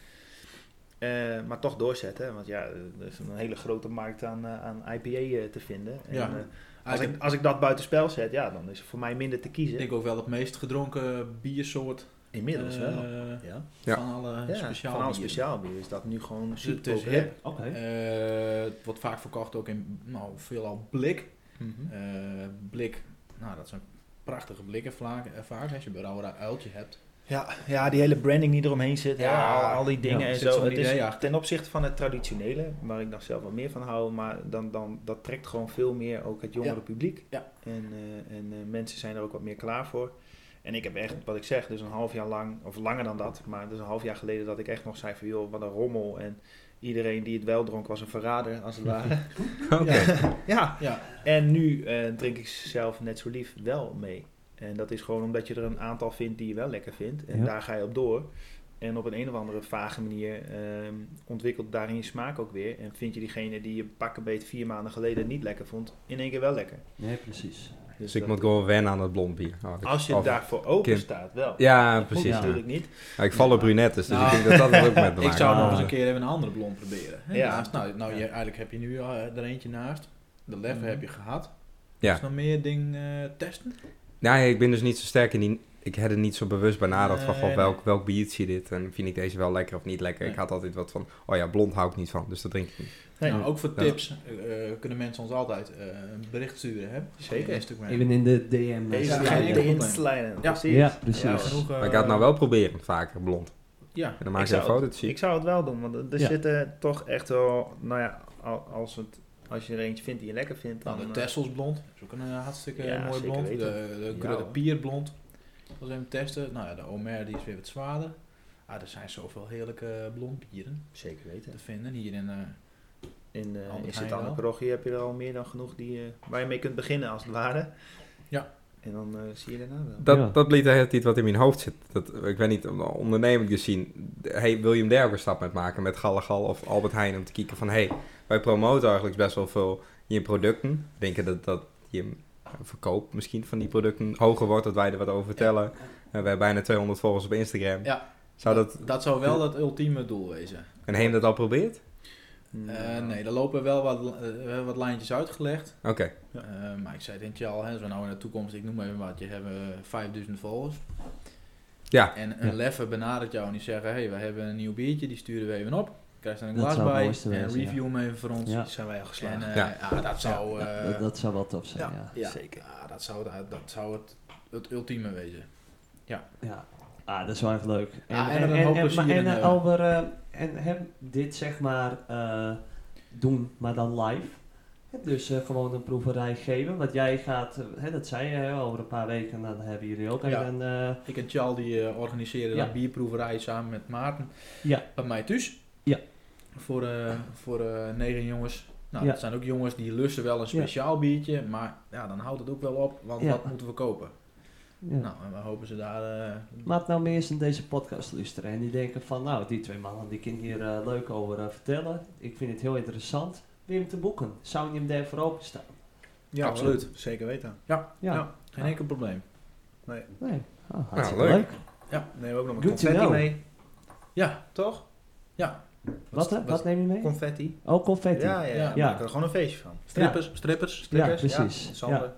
D: Eh, maar toch doorzetten. hè, Want ja, er is een hele grote markt aan, eh, aan IPA eh, te vinden. En,
C: Ja.
D: eh,
C: Ah,
D: als,
C: ik
D: ik, als ik dat buitenspel zet, ja, dan is er voor mij minder te kiezen.
C: denk ook wel het meest gedronken biersoort.
D: Inmiddels
C: eh,
D: wel. Ja.
B: Ja.
C: Van alle
D: Ja,
C: speciaal
D: van alle
C: bieren.
D: speciaal bier is dat nu gewoon
C: Dus
D: super
C: het is
D: populair.
C: hip.
A: Oké.
C: Eh, het wordt vaak verkocht ook in nou, veelal blik.
D: Mhm.
C: Eh, blik, nou dat zijn prachtige blikken vaak, eh, vaak als je een rauwe uiltje hebt.
D: Ja, ja, die hele branding die eromheen zit. Ja,
C: Ja,
D: al, al die dingen
C: ja,
D: en
C: er zit
D: zo.
C: zo'n
D: Het is
C: idee achter.
D: ten opzichte van het traditionele, waar ik dan zelf wel meer van hou. Maar dan, dan, dat trekt gewoon veel meer ook het jongere
C: Ja.
D: publiek.
C: Ja.
D: En, eh, en eh, mensen zijn er ook wat meer klaar voor. En ik heb echt, wat ik zeg, dus een half jaar lang, of langer dan dat. Maar dus een half jaar geleden dat ik echt nog zei van, joh, wat een rommel. En iedereen die het wel dronk was een verrader, als het ware. Ja. ja.
C: Ja.
D: En nu eh, drink ik zelf net zo lief wel mee. En dat is gewoon omdat je er een aantal vindt die je wel lekker vindt. En
A: Ja.
D: daar ga je op door. En op een, een of andere vage manier ehm, ontwikkelt daarin je smaak ook weer. En vind je diegene die je pakken beet vier maanden geleden niet lekker vond, in één keer wel lekker.
A: Nee, precies.
D: Dus
B: Dus ik
D: dat-
B: moet gewoon wennen aan dat blond bier. Oh, dat-
D: als je
B: of-
D: daarvoor open
B: Kim.
D: staat, wel.
B: Ja,
D: Vond
B: precies.
D: ik
B: Ja.
D: natuurlijk niet.
B: Ja, ik val op brunettes, dus
C: Nou.
B: ik denk dat dat er ook met te
C: Ik
B: maken
C: zou
A: Ah.
C: nog eens een keer even een andere blond proberen. Hè,
D: Ja.
C: Naast, nou, nou
D: Ja.
C: je, eigenlijk heb je nu al, eh, er eentje naast. De lever
D: Mhm.
C: heb je gehad.
B: Ja.
C: Is nog meer ding eh, testen?
B: Nou, ik ben dus niet zo sterk in die... Ik had er niet zo bewust bij nadat van,
C: Nee,
B: goh,
C: nee.
B: welk, welk biertje dit? En vind ik deze wel lekker of niet lekker?
C: Nee.
B: Ik had altijd wat van, oh ja, blond hou ik niet van, dus dat drink ik niet.
D: Nee.
C: Nou, ook voor
B: Ja.
C: tips eh, eh, kunnen mensen ons altijd eh, een bericht sturen. Hè?
D: Zeker.
C: Instagram.
A: Even in de DM. eh,
D: Deze
C: Ja,
A: slaan.
C: geen
D: ja,
C: enkel probleem.
D: inslijden.
C: Ja.
D: Precies.
A: Ja, precies.
D: Ja,
A: genoeg.
C: eh,
B: Maar ik ga het nou wel proberen, vaker blond.
C: Ja,
B: En dan maak
D: Ik
B: je een
D: zou
B: foto, dat zie
D: Ik
B: ik.
D: zou het wel doen, want er
A: Ja.
D: zitten toch echt wel, nou ja, al- als, het, als je er eentje vindt die je lekker vindt, dan,
C: nou, de
D: eh,
C: Tessels blond. Dat is ook een eh, hartstikke
D: Ja,
C: mooi
D: zeker
C: blond. De,
D: weten.
C: de
B: Ja,
C: Grote
B: hoor.
C: Pier blond. Dat is even testen. Nou ja, de Omer die is weer wat zwaarder. Ah, er zijn zoveel heerlijke blond bieren
D: zeker weten.
C: te vinden hier in... eh,
D: In, eh
C: Anders
D: in
C: ga je
D: Sint-Anne
C: wel.
D: Parochie heb je er al meer dan genoeg die, eh, waar je mee kunt beginnen als het ware.
C: Ja.
D: En dan eh, zie je daarna wel.
B: Dat,
A: Ja.
B: dat lied heeft iets wat in mijn hoofd zit. Dat, ik weet niet, om- ondernemend gezien, hey, wil je hem daar ook een stap mee maken? Met Gallegal of Albert Heijn om te kijken van, hey, wij promoten eigenlijk best wel veel je producten. Denken dat, dat je verkoop misschien van die producten hoger wordt, dat wij er wat over vertellen. Eh, we hebben bijna 200 volgers op Instagram.
C: Ja.
B: Zou dat,
C: dat zou wel het ultieme doel wezen.
B: en heeft dat al probeerd?
D: Nou,
C: Eh, nee, er lopen wel wat, eh, we hebben wat lijntjes uitgelegd.
B: Oké,
D: Ja.
C: Eh, maar ik zei het je al, hè, als we nou in de toekomst, ik noem even wat, je hebt eh, 5000 volgers.
B: ja.
C: En een
A: Ja.
C: leffe benadert jou en die zeggen, hé, hey, we hebben een nieuw biertje, die sturen we even op. Krijg je er een
A: Dat
C: glas
A: zou het
C: bij
A: mooiste
C: en
A: wezen, ja.
C: review hem even voor ons.
A: Ja.
D: zijn wij al
C: En
D: geslaagd.
C: eh,
B: Ja.
C: ja. dat zou... eh,
A: dat, dat zou wel tof zijn,
C: ja,
A: ja.
C: ja.
D: Zeker.
C: Ja, dat zou, dat, dat zou het, het ultieme wezen.
A: Ja. Ah, dat is wel echt leuk. En,
C: Ja, en
A: en,
C: er
A: en,
C: een
A: en,
C: hoop plezier
A: maar- en,
C: in,
A: eh,
C: eh,
A: over, eh, en hem dit zeg maar eh, doen, maar dan live. Hè, Dus eh, gewoon een proeverij geven. Want jij gaat, eh, hè, dat zei je, hè, over een paar weken nou, dan hebben jullie ook
C: Ja.
A: even, eh,
C: Ik en Charles die eh, organiseren
A: Ja.
C: een bierproeverij samen met Maarten.
A: Ja.
C: Bij mij thuis.
A: Ja.
C: Voor, eh, voor eh, negen jongens. Nou,
A: Ja.
C: dat zijn ook jongens die lusten wel een speciaal biertje. Maar ja, dan houdt het ook wel op, want
A: Ja.
C: wat moeten we kopen?
A: ja.
C: Nou, en we hopen ze daar... eh,
A: Laat nou meer eens in deze podcast luisteren. En die denken van, nou, die twee mannen die kunnen hier eh, leuk over eh, vertellen. Ik vind het heel interessant. Wil je hem te boeken? Zou je hem daarvoor openstaan?
C: ja, absoluut.
D: Zeker weten.
A: Ja.
D: Ja.
C: Geen enkel probleem.
A: Nee. Ah, hartstikke
B: leuk.
A: leuk.
D: Neem ook nog een
A: Good to
D: confetti
A: know.
D: mee,
C: Ja,
D: toch?
A: Wat, hè?
C: wat-
A: wat neem je mee?
D: Confetti.
A: Oh, confetti.
D: Ja, ja, ja.
C: Ja.
D: Maak er gewoon een feestje van.
C: strippers, strippers.
D: Stickers,
A: Ja, precies.
D: Ja. Sander.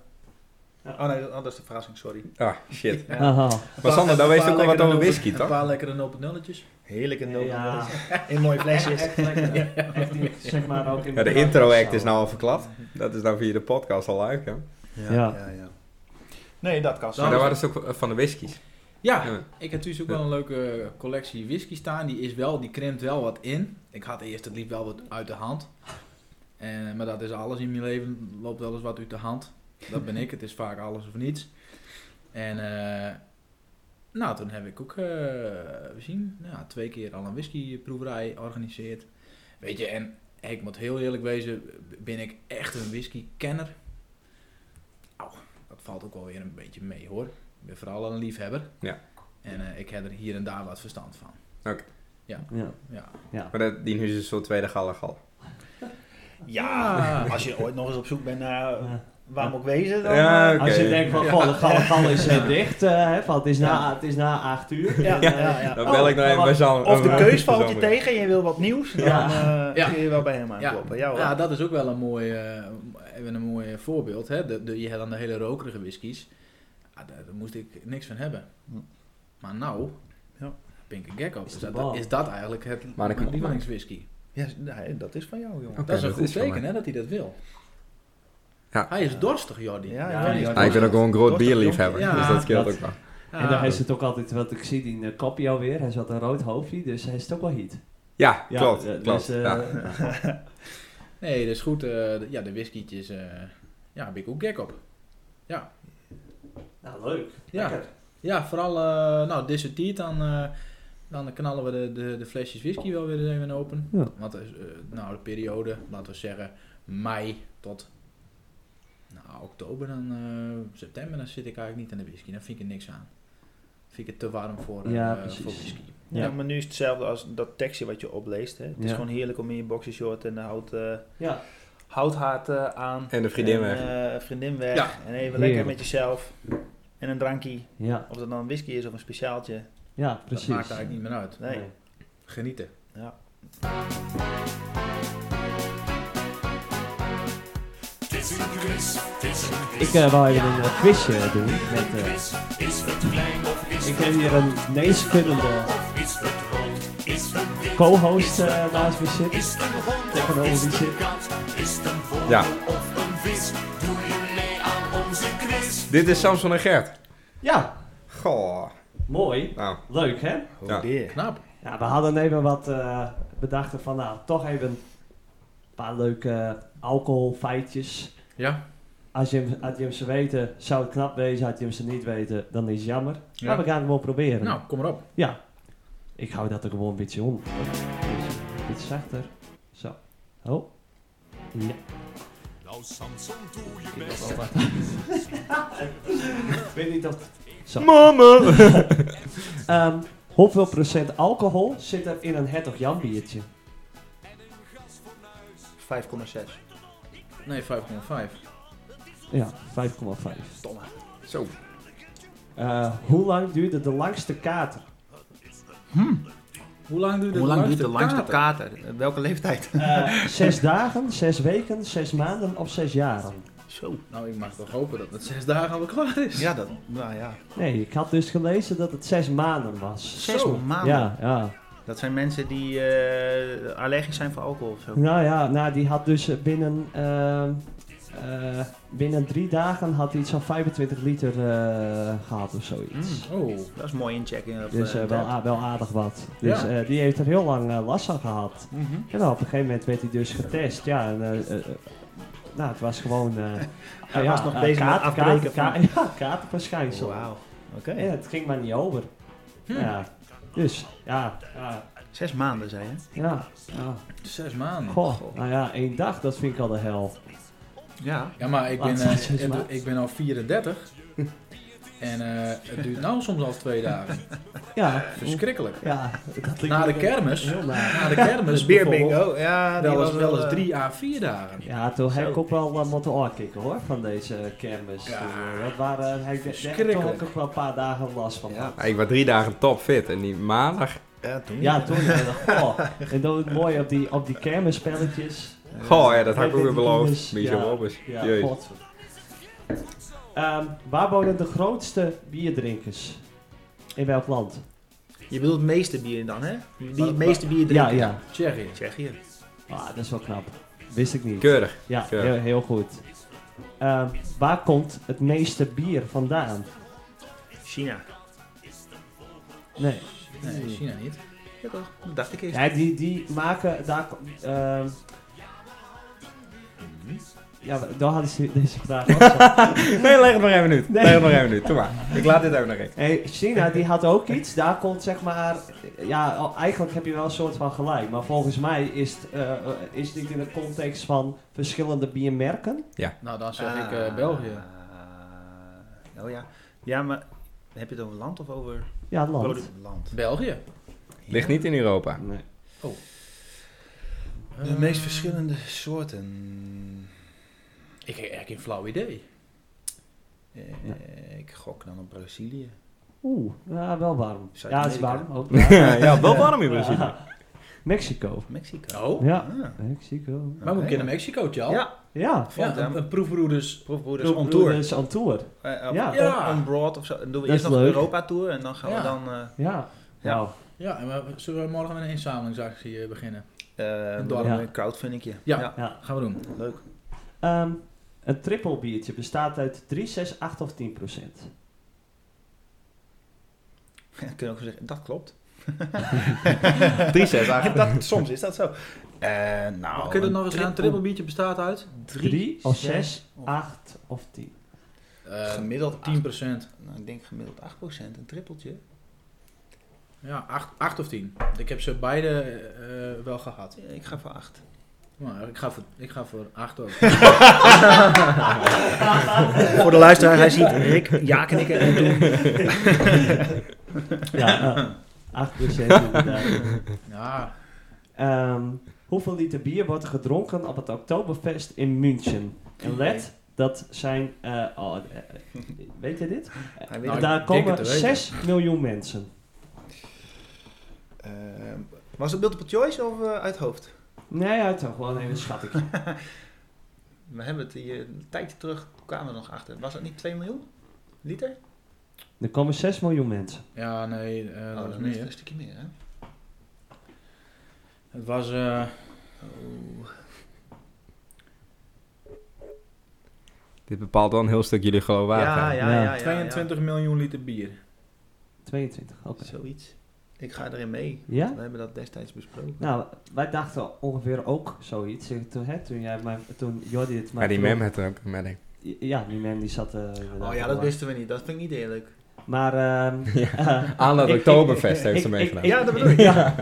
A: Ja.
D: Oh nee, dat oh, dat is de verrassing, sorry.
B: Ah, shit.
D: Ja.
A: Aha.
B: Maar Sander, daar
C: Een
B: weet je
C: paar
B: ook wel wat
C: lekkere
B: over
C: nul-
B: whisky,
C: Een
B: toch?
C: paar lekkere nulpen nulletjes.
D: Heerlijke nul.
A: Ja.
D: In mooie flesjes.
A: Echt lekker. Echt die, zeg maar ook in
B: Ja, de
A: brand
B: intro act
A: zo.
B: is nou al verklapt. Dat is nou via de podcast al uit, hè?
A: Ja.
D: ja, Nee, dat kan
B: Maar
D: zo.
B: daar waren ze ook van de whiskies.
C: Ja,
B: Ja.
C: ik heb natuurlijk ook wel een leuke collectie whisky staan. Die is wel, die krimpt wel wat in. Ik had eerst het liep wel wat uit de hand. En, maar dat is alles in mijn leven. Loopt wel eens wat uit de hand. Dat ben ik. Het is vaak alles of niets. En eh, nou, toen heb ik ook, eh, we zien, ja, twee keer al een whiskyproeverij georganiseerd. Weet je, en ik moet heel eerlijk wezen, ben ik echt een whiskykenner. Au, dat valt ook wel weer een beetje mee hoor. Ik ben vooral een liefhebber.
B: Ja.
C: En eh, ik heb er hier en daar wat verstand van.
B: Oké.
A: Ja.
C: Ja.
B: nou- Maar dat, die nu is een soort tweede gallegal.
D: Ja, als je ooit nog eens op zoek bent naar eh,
A: Ja.
D: waar moet ik wezen dan?
B: Ja,
D: eh,
B: oké.
A: Als je denkt van, goh, de Gallegal is eh, dicht, eh, hè, van, het, is na,
D: Ja.
A: het is na acht uur.
D: Ja,
A: En,
D: ja,
A: eh, oh,
D: ja.
B: Dan bel ik nog even bij Sam.
D: Of de
B: eh,
D: keus valt je
B: Sam.
D: tegen en je wil wat nieuws, dan
A: Ja.
D: eh,
C: Ja.
D: kun je wel bij hem aankloppen. Ja, hoor.
C: Ja, dat is ook wel een mooi, eh, even een mooi voorbeeld. Hè? De, de, je had dan de hele rokerige whiskies. Ja, daar, daar moest ik niks van hebben.
D: Hm.
C: Maar nou,
D: Ja.
C: pink en gecko.
A: de
C: Is dat,
A: bal.
C: is dat eigenlijk het
B: Maar ik
C: mijn
B: hem opmaak.
C: lievelingswhisky?
D: Ja, s- nee, dat is van jou, jongen.
B: Oké,
C: dat is een
B: dat
C: goed
B: is van
C: teken
B: mij.
C: hè, dat hij dat wil.
B: Ja.
C: Hij is dorstig, Jordi. Ah.
D: Ja,
A: Ja,
D: ja,
A: ja,
D: ja.
B: Ah, ik ben ook wel een groot
D: Dorst-
B: bierliefhebber,
C: Ja,
B: dus dat scheelt
A: dat-
B: ook wel.
C: Ja.
A: oh. En daar is het ook altijd, want ik zie die in de kopie alweer, hij zat een rood hoofdje, dus hij is het ook wel heat.
B: Ja,
A: Ja,
B: klopt.
A: eh,
B: klopt.
A: Dus, eh,
B: ja.
C: Nee, dat is goed. eh, de- ja, de whiskietjes, eh, ja, heb ik ook gek op.
A: Nou, leuk.
C: Ja.
A: Lekker.
C: Ja, vooral, eh nou, dissertiert dan, eh, dan knallen we de, de, de flesjes whisky wel weer eens even open.
A: Ja.
C: Want, eh, nou, de periode, laten we zeggen, mei tot nou, oktober, dan, eh, september, dan zit ik eigenlijk niet aan de whisky. Dan vind ik er niks aan. Vind ik het te warm voor, eh,
A: Ja, precies.
C: voor whisky.
A: Ja.
D: Ja. maar nu is het hetzelfde als dat tekstje wat je opleest. Hè. Het is
A: Ja.
D: gewoon heerlijk om in je boxershort en de hout, eh
A: Ja.
D: houthaat eh, aan.
B: En de vriendin weg.
D: eh, vriendin weg.
C: Ja.
D: En even lekker
A: Heerlijk.
D: met jezelf. En een drankje.
A: Ja,
D: Of dat dan een whisky is of een speciaaltje.
A: ja,
C: Dat
A: precies.
C: maakt eigenlijk niet meer uit.
D: Nee.
C: Genieten.
A: Ik eh wil even een eh, quizje doen. Met, eh, ik heb hier een neesvullende co-host eh, naast me zitten. Tegenover die zit.
B: Ja. Dit is Samson en Gert.
A: Ja,
B: Goh.
A: mooi.
B: Nou,
A: Leuk, hè?
D: Oh
B: Ja.
D: dear.
C: Knap.
A: Ja, we hadden even wat eh bedacht van, nou, toch even een paar leuke alcoholfeitjes.
C: Ja.
A: Als je, hem, als je hem ze weten, zou het knap wezen. Als je hem ze niet weten, dan is het jammer.
C: Ja.
A: Maar we gaan hem wel proberen.
C: Nou, kom erop.
A: Ja. Ik hou dat er gewoon een beetje om. Dus een beetje zachter. Zo. Oh. Ja. Nou, Samsung, doe je best. Ik weet niet of... Zo.
B: Mama!
A: Ehm, hoeveel procent alcohol zit er in een Hertog Jan biertje?
D: 5,6.
C: Nee, 5,5.
A: Ja, 5,5.
B: Zo.
A: Eh, hoe lang duurde de langste kater?
C: Hoe lang duurt de,
D: Hoe lang duurt de langste
C: kater?
D: kater? Eh, Welke leeftijd?
A: Eh, zes dagen, zes weken, zes maanden of zes jaren?
D: Zo.
C: Nou, ik mag toch hopen dat het zes dagen alweer klaar is.
D: Ja, dat, nou ja.
A: Nee, ik had dus gelezen dat het zes maanden was.
D: Zes
C: Zo.
D: maanden.
A: Ja, ja.
D: Dat zijn mensen die eh, allergisch zijn voor alcohol of zo.
A: Nou ja, nou, die had dus eh, binnen, ehm, eh, binnen drie dagen had hij iets van 25 liter eh, gehad of zoiets.
D: Mm,
C: Oh,
D: dat is mooi inchecken. op,
A: Dus eh,
D: eh,
A: wel,
D: dat.
A: a- wel aardig wat. Dus
C: Ja.
A: eh, die heeft er heel lang eh, last van gehad.
D: Mhm.
A: En dan op een gegeven moment werd hij dus getest. Ja, en, eh, eh, eh, nou, het was gewoon... eh,
D: Hij
A: ja,
D: was nog
A: eh,
D: bezig met
A: kater-
D: afbreken
A: kater-
D: van-
A: ka- Ja, katerverschijnsel.
D: Wauw. Hm. Oké.
A: En het ging maar niet over. Ja. Dus, ja, ja,
D: Zes maanden, zei je?
A: ja, ja.
C: zes maanden.
A: Goh, nou ja, één dag, dat vind ik al de hel.
D: Ja.
C: Ja, maar ik ben,
A: Laat
C: eh,
A: het eens
C: ik,
A: maar.
C: ik ben al 34. en eh, het duurt nou soms al twee dagen.
A: Ja,
C: Verschrikkelijk.
A: Ja, dat klinkt
C: Na de
A: wel
C: kermis.
A: Heel naar.
C: Na de kermis
D: Dus Beer
C: bijvoorbeeld,
D: bingo. Ja, die
C: Wel eens,
D: was
C: wel
D: eh,
C: eens drie à vier dagen.
A: Ja, toen heb ik
D: Zo.
A: ook wel wat moeten aankikken hoor, van deze kermis. Dus,
C: Ja,
A: eh, dat waren, hij dacht toch
C: verschrikkelijk.
A: heb ik ook wel een paar dagen last van.
D: Ja.
A: Ja,
B: Ik was drie dagen topfit en die maandag.
D: Ja, toen.
A: toen ik dacht, goh. En dan het mooie op die, op die kermisspelletjes.
D: Eh,
B: Goh, ja, dat had ik
A: Hij
B: ook weer
A: deed die
B: beloofd.
A: dus,
B: Michel
A: ja,
B: Robbers.
A: Ja,
B: Jezus.
A: god. Ehm, waar wonen de grootste bierdrinkers? In welk land?
D: Je bedoelt het meeste bier dan, hè? Die
C: Wat-
D: het meeste bier drinken.
A: Ja, ja.
C: Tsjechië.
D: Tsjechië.
A: Ah, dat is wel knap. Wist ik niet.
B: Keurig.
A: Ja,
B: Keurig.
A: heel, heel goed. Ehm, waar komt het meeste bier vandaan?
D: China.
A: Nee.
C: Nee, China niet.
D: Ja, toch? Dat dacht ik eerst.
A: Ja, die, die maken daar. ehm ja, daar hadden ze deze vraag ook. zo.
B: Nee, leg het maar even nu.
A: Nee.
B: Leg het maar even nu. Doe maar. Ik laat dit ook nog even.
A: Hey, China die had ook iets. Daar komt zeg maar. Ja, al- eigenlijk heb je wel een soort van gelijk. Maar volgens mij is het, eh, eh, is dit in de context van verschillende biermerken.
C: Nou, dan zeg ik eh, België.
D: Ah, oh ja. Ja, maar heb je het over land of over
A: Ja, land.
D: product- land?
C: België.
B: Ligt niet in Europa.
A: Nee.
C: Eh,
D: De meest verschillende soorten.
C: Ik heb echt geen flauw idee.
D: Eh, Ik gok dan op Brazilië.
A: Oeh, ja, wel warm.
D: Zuid-Amerika.
A: Ja, het is warm. Ook,
B: ja, wel warm in Brazilië.
A: Ja. Mexico.
D: Mexico.
C: Oh,
A: Ja,
D: Ah,
A: Mexico.
C: maar we kennen Mexico, Tjal.
D: Ja,
A: Ja.
C: Ja,
D: vond hem.
C: een, een proefbroeders.
D: Proefbroeders
C: on
D: Dus on
C: tour.
D: tour.
A: Dat is on tour. Ja.
D: ja.
C: Ja.
D: On, broad of zo. Dan doen we
A: Dat
D: eerst
A: is
D: nog een
A: leuk.
D: Europa tour en dan gaan
C: Ja.
D: we dan... eh,
A: Ja.
D: Ja.
A: Nou,
C: Ja, en we, zullen we morgen met een inzamelingsactie eh, beginnen?
D: eh,
C: Een
D: doen
C: dorp.
D: we een crowdfundingje.
C: Ja.
A: ja.
C: Gaan we doen.
D: Leuk.
A: Ehm, een triple biertje bestaat uit 3, 6, 8 of 10 procent.
D: Kunnen we ook zo zeggen, dat klopt.
B: 3 6 eigenlijk.
D: dat, soms is dat zo. Eh nou,
C: Kun je dat nog eens aan? Triple biertje bestaat uit?
A: 3 of
D: zes,
A: 6,
D: of-
A: 8 of 10.
D: Gemiddeld
C: 10%.
D: Nou, ik denk gemiddeld 8%, een trippeltje.
C: Ja, 8, 8 of 10. Ik heb ze beide eh, wel gehad.
D: Ja, ik ga voor 8.
C: Maar ik ga voor, ik ga voor 8 ook.
D: Voor de luisteraar, hij ziet Rick ja knikken en doen.
A: Ja, eh, 8 procent inderdaad.
C: ja,
A: Ehm, hoeveel liter bier wordt er gedronken op het Oktoberfest in München? En let, dat zijn... eh, oh, eh, eh, weet je dit? Eh,
D: Hij weet
C: Nou,
D: het.
A: Daar
C: ik denk het
A: komen
C: te weten.
A: 6 miljoen mensen.
D: Eh, was het Multiple Choice of eh, uit hoofd?
A: Nee, uit toch gewoon even een schattingje.
D: We hebben het hier een tijdje terug, kwamen we er nog achter. Was het niet 2 miljoen liter?
C: Eh,
A: Er komen 6 miljoen mensen.
C: ja, nee, eh, dat was
D: dan Oh, is het
C: meer.
D: een stukje meer, hè?
C: Het was eh
D: Oh.
B: Dit bepaalt wel een heel stuk jullie geloofwaardigheid.
A: ja, ja,
C: 22 miljoen liter bier.
A: 22, oké.
D: Zoiets. Ik ga erin mee.
A: Ja?
D: We hebben dat destijds besproken.
A: Nou, wij dachten ongeveer ook zoiets. Eh, Toen, hè, toen, jij, mij- toen Jordi het
B: Maar die
A: vroeg-
B: mem had er ook een melding.
A: Ja, die mem die zat... eh, inderdaad
D: Oh ja,
A: al
D: dat
A: lang.
D: wisten we niet. Dat vind ik niet eerlijk.
A: Maar... ehm, eh,
B: Aan dat
A: Ik-
B: Oktoberfest
A: ik-
B: heeft ze
A: ik-
B: meegedaan.
A: ik-
D: Ja, dat bedoel ik.
A: Ja.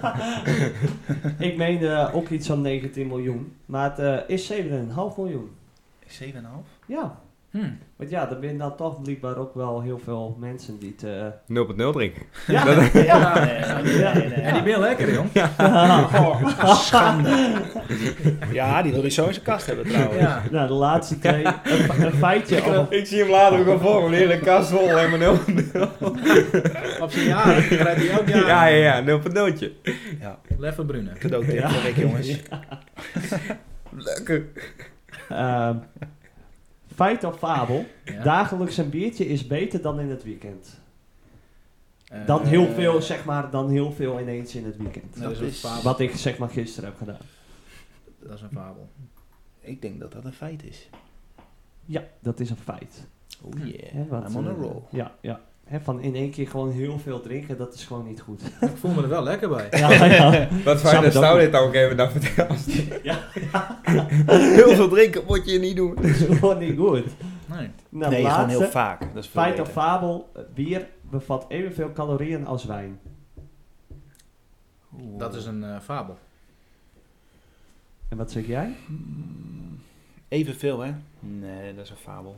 A: ik meende ook iets van 19 miljoen. Maar het eh, is 7,5 miljoen.
D: 7,5?
A: Ja.
C: Hm.
A: Want ja, er zijn dan toch blijkbaar ook wel heel veel mensen die het... eh,
B: 0.0 drinken.
A: ja.
D: Ja, nee,
A: Ja.
D: nee, nee.
C: En die ben lekker, jong. Ja.
D: Oh. Ja, die wil ik zo in zijn kast hebben trouwens.
C: ja.
A: Nou, de laatste twee. Een, fe- een
D: eh,
A: feitje. over-
B: Ik zie hem later ook al voor me. De hele kast vol helemaal 0.0.
C: Op zijn jaar krijgt hij elk jaar.
B: Ja, ja, ja. 0.0'tje.
C: Leffe Brune.
D: Cadeautip voor Rick, jongens.
B: Lekker.
A: ehm, feit of fabel.
C: Ja.
A: Dagelijks een biertje is beter dan in het weekend.
C: Eh,
A: Dan heel veel, zeg maar, dan heel veel ineens in het weekend.
C: Dat is
D: Dat
C: een
D: is-
C: fabel.
A: Wat ik zeg maar gisteren heb gedaan.
C: Dat is een fabel.
D: Ik denk dat dat een feit is.
A: Ja, dat is een feit.
D: Oh yeah.
A: Hè, want,
D: I'm on a
A: eh,
D: roll.
A: Ja, ja. Hè, van in één keer gewoon heel veel drinken, dat is gewoon niet goed.
C: Ik voel me er wel lekker bij.
A: ja, ja.
B: Wat
A: Snap
B: fijn
A: het
B: dat
A: ook
B: Stouw
A: niet.
B: dit ook even dan vertelt.
A: Ja.
B: Heel veel drinken moet je niet doen.
A: Dat is gewoon niet goed.
C: Nee.
A: Nou,
D: nee, gewoon
A: laatste.
D: heel vaak. Dat is veel
A: feit of
D: beter.
A: fabel. eh, Bier bevat evenveel calorieën als wijn.
D: Oeh.
C: Dat is een eh, fabel.
A: En wat zeg jij?
D: Mm, Evenveel, hè? Nee, dat is een fabel.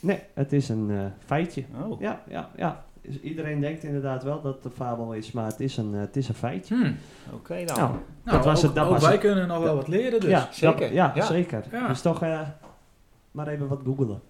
A: Nee, het is een eh, feitje.
D: Oh.
A: Ja, ja, ja. Dus iedereen denkt inderdaad wel dat het een fabel is, maar het is een, eh, het is een feitje.
C: Hm.
D: Oké dan.
A: Nou,
C: Nou,
A: Dat was
C: ook,
A: het, dat
C: ook
A: was
C: wij
A: het.
C: kunnen nog wel
A: Dat-
C: wat leren dus.
A: ja, dat-
D: zeker.
A: ja,
D: Ja.
A: zeker.
C: Ja.
A: Dus toch eh, maar even wat googelen.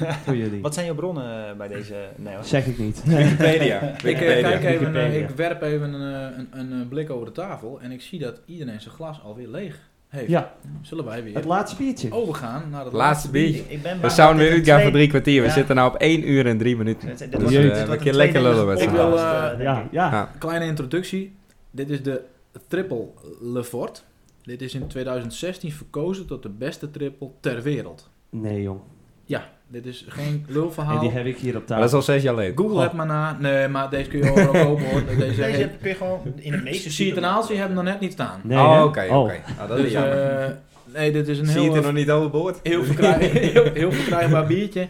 A: Ja, voor jullie.
D: Wat zijn je bronnen bij deze... Nee, wat?
A: Zeg ik niet.
B: Wikipedia.
C: Ik, eh,
B: Wikipedia.
C: kijk even, eh,
A: Wikipedia.
C: ik werp even eh, een, een, eh, blik over de tafel en ik zie dat iedereen zijn glas alweer leeg heeft.
A: ja,
C: Zullen wij weer
A: het laatste
C: Oh,
A: biertje.
C: overgaan naar het
B: Laatste biertje.
D: Ik, ik ben
B: We
D: bang
B: zouden
D: dat
B: weer
D: dit
B: uitgaan
D: een
B: voor
D: tweede-
B: drie kwartier. We
D: Ja.
B: zitten nou op 1 uur en 3 minuten.
D: Dit- dit
B: Dus
D: wordt-
A: Jeetje.
B: eh,
D: dit wordt
B: een keer
D: een
B: lekker
D: tweede-
B: lullen
D: Ik
B: wedstrijd.
D: wil, eh,
A: Ja, ja,
B: Ja.
A: ja.
C: Kleine introductie. Dit is de triple Lefort. Dit is in 2016 verkozen tot de beste triple ter wereld.
A: Nee, jong.
C: Ja, dit is geen
A: En
C: lulverhaal.
A: die Oh. heb ik hier op
B: Maar dat is
A: tafel.
B: al zes jaar geleden.
C: Google het maar na. Nee, maar deze kun je overal kopen hoor. Deze,
D: Deze
C: hey,
D: heb je gewoon in de meeste
C: zie je ten aanzien hebben we nog net niet staan.
A: Nee,
B: oh,
A: hè?
B: oké, oké.
A: Oh.
B: Ah, dat is
C: dus,
B: jammer.
C: eh, nee, dit is een
B: Zie je
C: heel,
B: het er nog niet overboord?
C: heel, verkrijg, heel, heel verkrijgbaar biertje.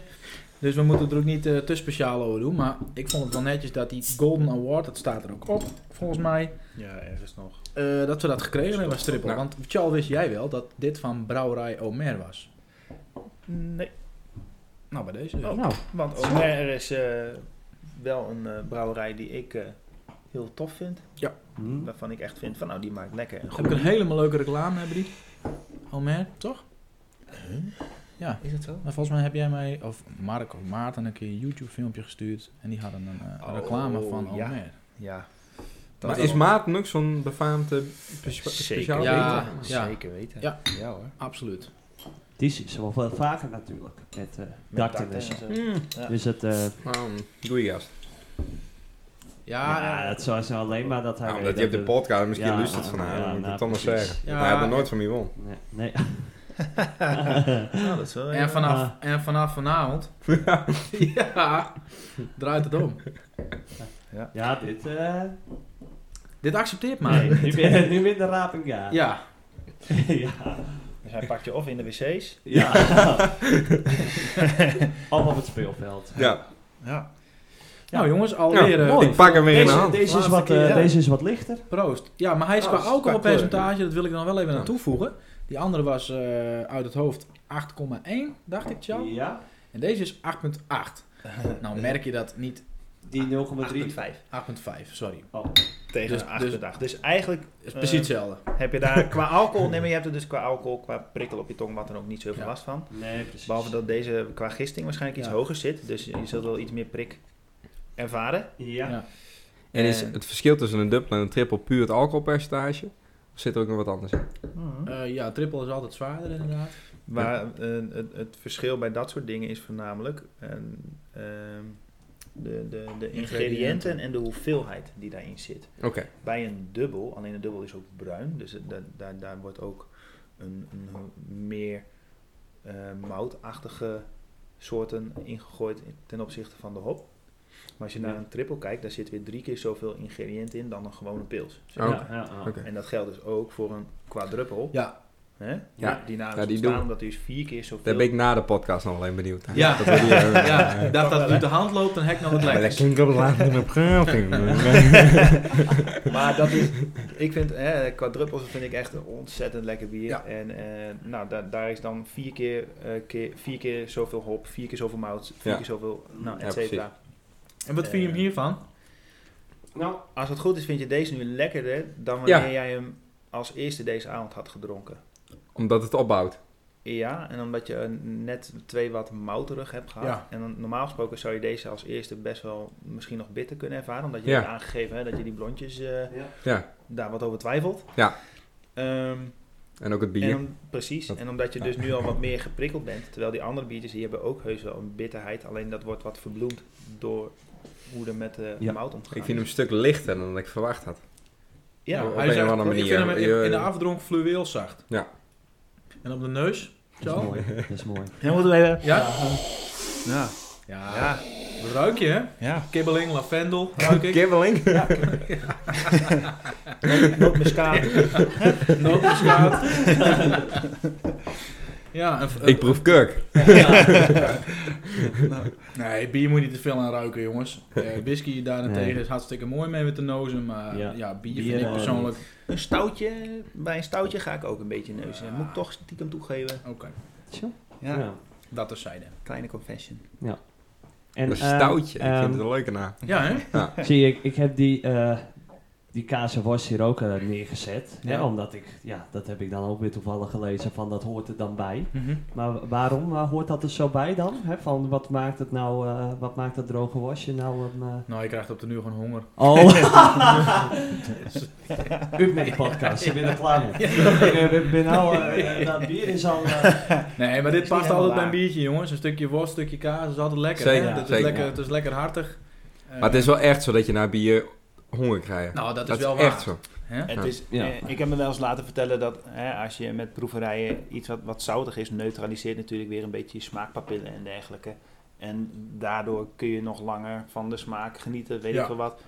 C: Dus we moeten er ook niet eh, te speciaal over doen. Maar ik vond het wel netjes dat die Golden Award, dat staat er ook op, volgens mij.
D: Ja, ergens nog.
C: eh, dat we dat gekregen hebben als triple.
B: Nou.
C: Want Charles, wist jij wel dat dit van Brouwerij Omer was?
D: Nee,
C: Nou,
D: Oh.
C: bij deze. dus.
A: Oh. Nou,
D: want Omer is eh, wel een eh, brouwerij die ik eh, heel tof vind.
A: Hm?
D: Waarvan ik echt vind van nou die maakt lekker. en
C: Heb ik
D: goed.
C: een helemaal leuke reclame, hebben die? Homer, toch? Ja,
D: Is het zo?
C: maar volgens mij heb jij mij, of Mark of Maarten, een keer een YouTube-filmpje gestuurd. En die hadden een eh,
D: Oh,
C: reclame van
D: ja.
C: Homer.
D: Ja,
B: Maar is Maarten ook zo'n befaamde spe- speciaal
C: Ja.
B: beter?
C: ja.
D: zeker weten.
C: Ja.
D: hoor.
C: Absoluut.
A: Die zien ze wel veel vaker natuurlijk. Met, eh darten en zo.
B: Mm,
D: Ja.
A: Dus het, eh,
B: nou, goeie gast.
C: Ja,
A: ja, het zou zijn alleen maar dat hij...
B: Nou,
A: weet
B: omdat je hebt de
A: dat
B: podcast, misschien
A: Ja,
B: lust het van
A: ja,
B: haar.
A: ja,
B: moet ik
A: nou,
B: het toch maar
A: precies.
B: zeggen.
C: Ja.
B: Hij had er nooit van mij won.
A: Nee. nee.
D: Nou, dat is wel, ja.
C: En vanaf,
B: Ah.
C: en vanaf vanavond. ja, draait het om.
A: Ja, dit... eh,
C: Dit accepteert maar.
A: nee, nu ben, nu ben de raping ja.
C: Ja,
A: ja.
D: Dus hij pakt je of in de wc's.
A: Ja. of op het speelveld.
B: Ja,
D: Ja.
C: nou jongens, alweer
B: Ja,
C: eh,
B: ik pak hem weer in de
A: Deze,
B: hand.
A: deze, is
C: Laatste
A: wat, eh,
C: keer, ja.
A: deze is wat lichter.
C: proost. Ja, maar hij is
B: Oh,
C: qua
B: dat is qua
C: alcoholpercentage, dat wil ik dan wel even aan
B: Ja.
C: toevoegen. Die andere was eh, uit het hoofd 8,1, dacht ik, Tjan.
A: Ja.
C: En deze is 8,8. Nou merk je dat niet,
A: Die 0,3.
D: 8,5
C: 8,5, sorry.
A: Oh,
D: tegen
C: Dus-
D: een 8,8. Dus, eigenlijk
C: Het is precies
D: eh,
C: hetzelfde.
D: heb je daar qua alcohol, nee maar je hebt er dus qua alcohol, qua prikkel op je tong, wat dan ook niet zoveel
C: Ja.
D: last van.
A: Nee, precies.
D: Behalve dat deze qua gisting waarschijnlijk iets
C: Ja.
D: hoger zit. Dus je zult wel iets meer prik ervaren.
A: Ja.
C: Ja.
B: en is
D: Eh.
B: het verschil tussen een dubbel en een triple puur het alcoholpercentage? Of zit er ook nog wat anders in?
C: Eh, ja, triple is altijd zwaarder inderdaad.
D: Maar eh, het, het verschil bij dat soort dingen is voornamelijk en, ehm, de, de, de ingrediënten en de hoeveelheid die daarin zit.
B: Oké.
D: Bij een dubbel, alleen een dubbel is ook bruin, dus het- daar- daar, daar wordt ook een, een meer eh, moutachtige soorten ingegooid ten opzichte van de hop. Maar als je naar een triple kijkt, daar zit weer drie keer zoveel ingrediënten in dan een gewone pils.
B: Oh.
A: Ja, ja, ja.
B: Oké.
D: En dat geldt dus ook voor een quadruppel.
C: Ja,
D: Hè?
B: Ja.
D: Die naam
B: Ja,
D: is
B: die
D: ontstaan
B: doen-
D: omdat hij dus vier keer zoveel...
B: Daar ben ik na de podcast nog alleen benieuwd. naar.
C: Ja.
B: Dat wil je, eh,
C: ja,
B: eh,
C: ik dacht dat het uit de hand loopt, dan hek nog wat
B: maar dat
C: lekkers.
B: klinkt op het laatste in de
D: Maar dat is, ik vind, hè, quadruppels vind ik echt een ontzettend lekker bier.
C: Ja.
D: En eh, nou, da- daar is dan vier keer, eh, keer, vier keer zoveel hop, vier keer zoveel mout, vier
B: Ja.
D: keer zoveel, nou,
B: Ja,
D: et cetera.
C: En wat vind je hem hiervan?
A: Nou,
D: Als het goed is, vind je deze nu lekkerder dan
B: Ja.
D: wanneer jij hem als eerste deze avond had gedronken.
B: Omdat het opbouwt.
D: Ja, en omdat je eh, net twee wat mouterig hebt gehad.
C: Ja.
D: En dan, normaal gesproken zou je deze als eerste best wel misschien nog bitter kunnen ervaren. Omdat je
B: Ja.
D: hebt aangegeven hè, dat je die blondjes eh,
B: Ja.
D: daar wat over twijfelt.
B: Ja.
D: Ehm,
B: En ook het bier.
D: En om- precies.
B: Dat-
D: en omdat je dus nu al wat meer geprikkeld bent. Terwijl die andere biertjes, die hebben ook heus wel een bitterheid. Alleen dat wordt wat verbloemd door hoe er met de
A: Ja.
D: mout omgaat.
B: Ik vind hem een stuk lichter dan ik verwacht had.
D: Ja,
B: op
C: hij
B: een
C: is
B: of
C: echt-
B: andere
C: Ik
B: manier.
C: vind hem in,
B: Je-
C: in de afdronk fluweelzacht.
B: Ja.
C: En op de neus?
A: dat is
C: Zo?
A: mooi. Dat is mooi.
D: dan moeten we even...
C: Ja?
D: Ja.
C: Ja.
D: Ja.
C: Wat ruik je, hè?
D: ja.
C: Kibbeling, lavendel, ruik ik.
B: Kibbeling?
D: Nootmuskaat.
C: Nootmuskaat. ja, en,
B: Ik proef kurk.
C: Nee, bier moet je niet te veel aan ruiken, jongens. Eh whisky daarentegen
A: Nee.
C: is hartstikke mooi mee met de nozen, maar ja,
A: Ja.
C: bier,
A: Bier,
C: vind ik
A: eh,
C: persoonlijk...
D: Een stoutje. Bij een stoutje ga ik ook een beetje neuzen. Moet ik toch stiekem toegeven.
C: Oké,
A: Tjoe.
D: Ja.
A: Ja.
C: dat terzijde.
D: Kleine confession.
A: En,
B: Een
A: ehm,
B: stoutje. Ik
A: ehm,
B: vind het een leuke naam.
C: Ja, hè?
A: Zie je, ik, ik heb die, eh die kaas en worst hier ook eh, neergezet. Hè,
C: Ja.
A: omdat ik, ja, dat heb ik dan ook weer toevallig gelezen van dat hoort er dan bij.
C: Mhm.
A: Maar waarom eh, hoort dat er zo bij dan? Hè, van wat maakt het nou, eh, wat maakt dat droge worstje nou een... eh,
C: Nou, je krijgt op de nu gewoon honger.
A: Oh. Up met de podcast, je bent er klaar mee. Ik eh, ben nou, eh, eh, dat bier is al... eh,
C: Nee, maar dit
D: Is niet
C: past altijd
D: helemaal
C: bij een biertje, jongens. Een stukje worst, een stukje kaas is altijd lekker.
B: Zeker,
C: hè? Het, is
B: zeker.
C: lekker het is lekker hartig. Eh,
B: Maar het is wel echt zo dat je na bier honger krijgt.
C: Nou, dat is
B: dat is
C: wel waar.
B: echt zo.
C: Hè?
D: Het is,
A: Ja.
D: eh, ik heb me wel eens laten vertellen dat hè, als je met proeverijen iets wat, wat zoutig is, neutraliseert natuurlijk weer een beetje je smaakpapillen en dergelijke. En daardoor kun je nog langer van de smaak genieten, weet
C: Ja.
D: ik veel wat.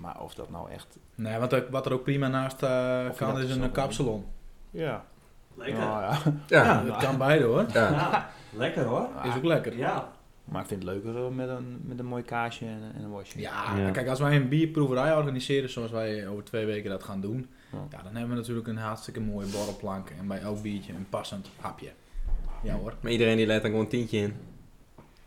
D: Maar of dat nou echt.
C: Nee, want er- wat er ook prima naast eh,
D: Of je
C: kan
D: dat
C: is
D: zo
C: een
D: wil.
C: kapsalon.
D: Ja.
A: Lekker.
D: Nou ja.
B: Ja.
C: Het kan beide hoor.
B: ja.
A: Ja, lekker hoor.
C: Is ook lekker.
A: Ja.
D: Maar ik vind het leuker hoor, met een, met een mooi kaasje en, en een worstje.
C: Ja,
A: Ja.
C: kijk, als wij een bierproeverij organiseren zoals wij over twee weken dat gaan doen,
D: Ja.
C: ja, dan hebben we natuurlijk een hartstikke mooie borrelplank en bij elk biertje een passend hapje. Ja hoor.
B: Maar iedereen die leidt dan gewoon een tientje in.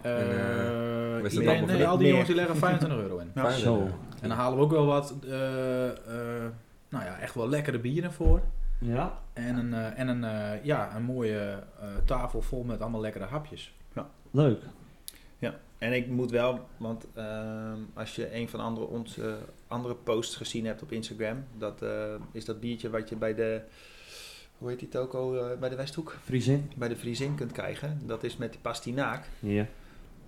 C: Eh,
B: eh, wat is het dan
C: iedereen-
B: voor
C: nee,
B: dit?
C: al die
D: Meer.
C: jongens die leggen 25 euro in.
B: Fijn,
A: Zo.
B: eh.
C: En dan halen we ook wel wat, eh, eh, nou ja, echt wel lekkere bieren voor.
A: Ja,
C: En een, eh, en een, eh, ja, een mooie eh, tafel vol met allemaal lekkere hapjes.
A: leuk.
D: En ik moet wel, want ehm, als je een van andere, onze eh, andere posts gezien hebt op Instagram, dat eh, is dat biertje wat je bij de, hoe heet die toko, eh, bij de Westhoek,
A: Friesin.
D: bij de Vriesin kunt krijgen. Dat is met die pastinaak.
A: Ja.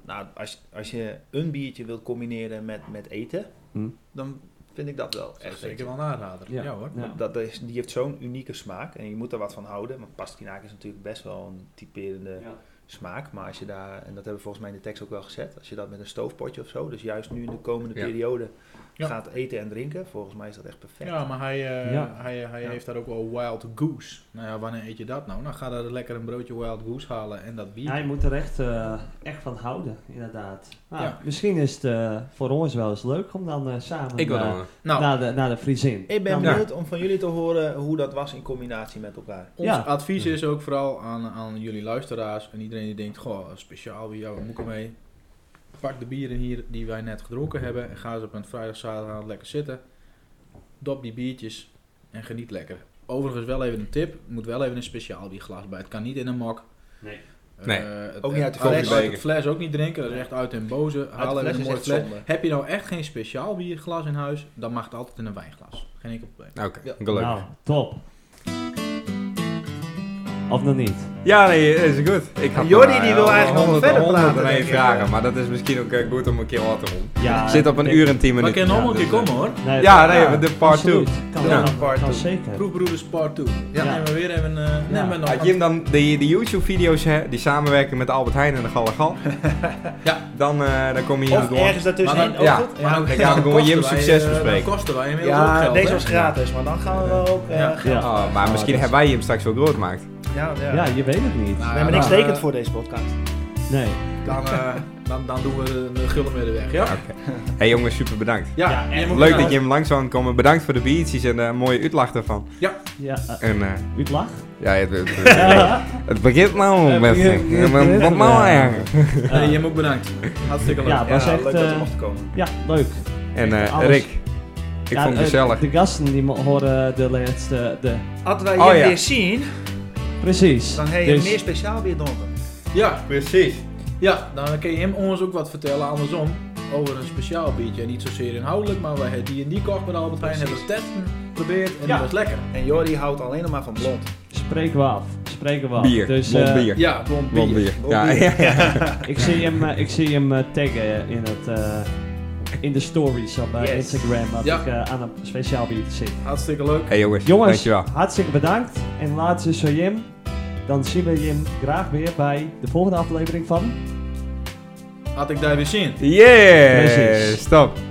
D: Nou, als, als je een biertje wilt combineren met, met eten,
A: Hm.
D: dan vind ik dat wel
C: Dat
D: echt
C: is zeker
D: eten.
C: wel een aanrader.
A: Ja.
C: Ja, hoor.
A: Ja.
D: Dat is, die heeft zo'n unieke smaak en je moet er wat van houden. Want pastinaak is natuurlijk best wel een typerende
A: Ja.
D: smaak. Maar als je daar, en dat hebben we volgens mij in de tekst ook wel gezet, als je dat met een stoofpotje of zo, dus juist nu in de komende
B: Ja.
D: periode
C: Ja.
D: gaat eten en drinken, volgens mij is dat echt perfect.
C: Ja, maar hij, eh,
A: Ja.
C: hij, hij
D: Ja.
C: heeft daar ook wel wild goose. Nou ja, wanneer eet je dat nou? Dan ga daar lekker een broodje wild goose halen en dat bier.
A: Hij moet er echt, eh, echt van houden, inderdaad. Nou,
C: Ja.
A: Misschien is het eh, voor ons wel eens leuk om dan eh, samen
B: Ik wil
A: eh,
B: dan een-
C: nou,
A: naar, de, naar de Friesin.
D: Ik ben
A: Nou,
D: benieuwd om van jullie te horen hoe dat was in combinatie met elkaar.
C: ons
A: Ja.
C: advies is ook vooral aan, aan jullie luisteraars en iedereen die denkt, goh, speciaal wie jou moet ik mee. Pak de bieren hier die wij net gedronken hebben en ga eens op een vrijdag, zaterdag lekker zitten. Dop die biertjes en geniet lekker. Overigens wel even een tip, moet wel even een speciaal bierglas bij. Het kan niet in een mok.
A: Nee.
C: Eh,
B: Nee.
C: het-
D: Ook niet uit de
C: het-
D: fles.
C: Uit de fles ook niet drinken, dat is echt uit en boze. Haal
D: fles
C: even een
D: is
C: mooi
D: echt
C: fles.
D: zonde.
C: Heb je nou echt geen speciaal bierglas in huis, dan mag het altijd in een wijnglas. Geen enkel probleem.
B: Oké,
D: Ja.
B: gelukkig.
A: Nou, top. Of nog niet?
B: Ja, nee, is goed. Ik had
D: Jordi,
B: maar,
D: die
B: eh,
D: wil
B: al
D: eigenlijk nog
B: honderd-
D: verder
B: honderd
D: praten,
B: en één
D: denk ik.
B: vragen, maar dat is misschien ook eh, goed om een keer wat te doen.
A: Ja,
B: Zit op een
A: ik-
B: uur en tien
C: Maar
B: minuten.
C: kan nog
B: ja,
C: een
B: dus,
C: keer
B: eh,
C: komen hoor.
A: Nee,
B: Ja, nee, de part two.
A: absoluut. Kan,
D: Ja.
A: kan,
D: Part
A: kan
D: two.
A: zeker.
C: Proefbroeders part 2. Ja.
A: Ja.
C: Nemen we weer even eh nemen we nog
B: Had je hem dan die, die YouTube-video's, hè, die samenwerking met Albert Heijn en de Gallegal?
C: Ja.
B: Dan, eh, dan kom je hier
D: Of
B: door.
D: ergens daartussenin,
C: Maar
D: ook
B: ja.
D: goed.
B: Maar Ah, dan gaan we gewoon Jim's succes bespreken.
C: Dat eh, kosten wij inmiddels ook
D: Ja,
C: geld,
D: deze
C: hè?
D: was gratis, maar dan gaan we wel ook... eh,
C: Ja.
D: gaan-
A: Ja.
B: Oh, maar
A: Ah,
B: misschien
A: dat is-
B: hebben wij hem straks wel groot gemaakt.
D: ja, ja.
A: Ja, je weet het niet. Ah.
C: Nou,
D: We hebben
C: dan,
D: niks tekend
C: eh,
D: voor deze podcast.
A: Nee.
C: Dan, eh, dan, dan doen we de- de gulden weer weg, ja?
B: Ah, Oké. hey jongens, super bedankt.
C: Ja,
A: Ja,
C: en je moet
B: Leuk
C: wel-
B: dat je hem langs zou komen. Bedankt voor de biertjes en de mooie uitlach ervan.
A: Ja, eh,
B: En eh,
A: u het lag?
B: ja, het, het, het begint nou
A: Het
B: met
A: begint-
B: eh, wat- Wat nou
A: Ja.
B: eigenlijk?
C: Nee, je moet bedankt. Hartstikke leuk.
A: Eh, Ja, was
D: ja,
A: echt,
D: leuk dat
A: eh,
D: je mocht komen.
A: Ja, leuk.
B: En eh,
A: Alles.
B: Rick, ik
A: Ja,
B: vond
A: eh,
B: het gezellig.
A: De gasten die mo- horen de laatste... De...
D: Hadden wij
B: Oh,
D: je
B: ja.
D: weer zien,
A: Precies.
D: dan heb je
A: Dus-
D: meer speciaal weer dronken.
C: Ja,
B: Precies.
C: ja, dan kun je hem ons ook wat vertellen andersom. Over een speciaal biertje. Niet zozeer inhoudelijk, maar wij hebben die en die kocht bij de Albert Heijn. Hebben we testen geprobeerd en dat was lekker.
D: En Jordi houdt alleen nog maar van blond.
A: Spreken we af. Spreken we af.
B: Bier,
A: Dus,
B: blond
A: eh,
B: bier.
C: Ja, blond bier.
B: Blond bier.
D: Blond
B: Ja,
D: bier.
B: ja, ja.
A: Ik zie hem, eh, ik zie hem eh, taggen in, het, eh, in de stories op eh,
D: Yes.
A: Instagram. Dat
C: Ja.
A: ik eh, aan een speciaal biertje zit.
C: Hartstikke leuk.
B: Hey jongens,
A: Jongens,
B: dankjewel.
A: hartstikke bedankt. En laatst is zo Jim. Dan zien we Jim graag weer bij de volgende aflevering van...
C: Had ik daar weer zin.
B: Yeah!
A: Precies.
B: Stop.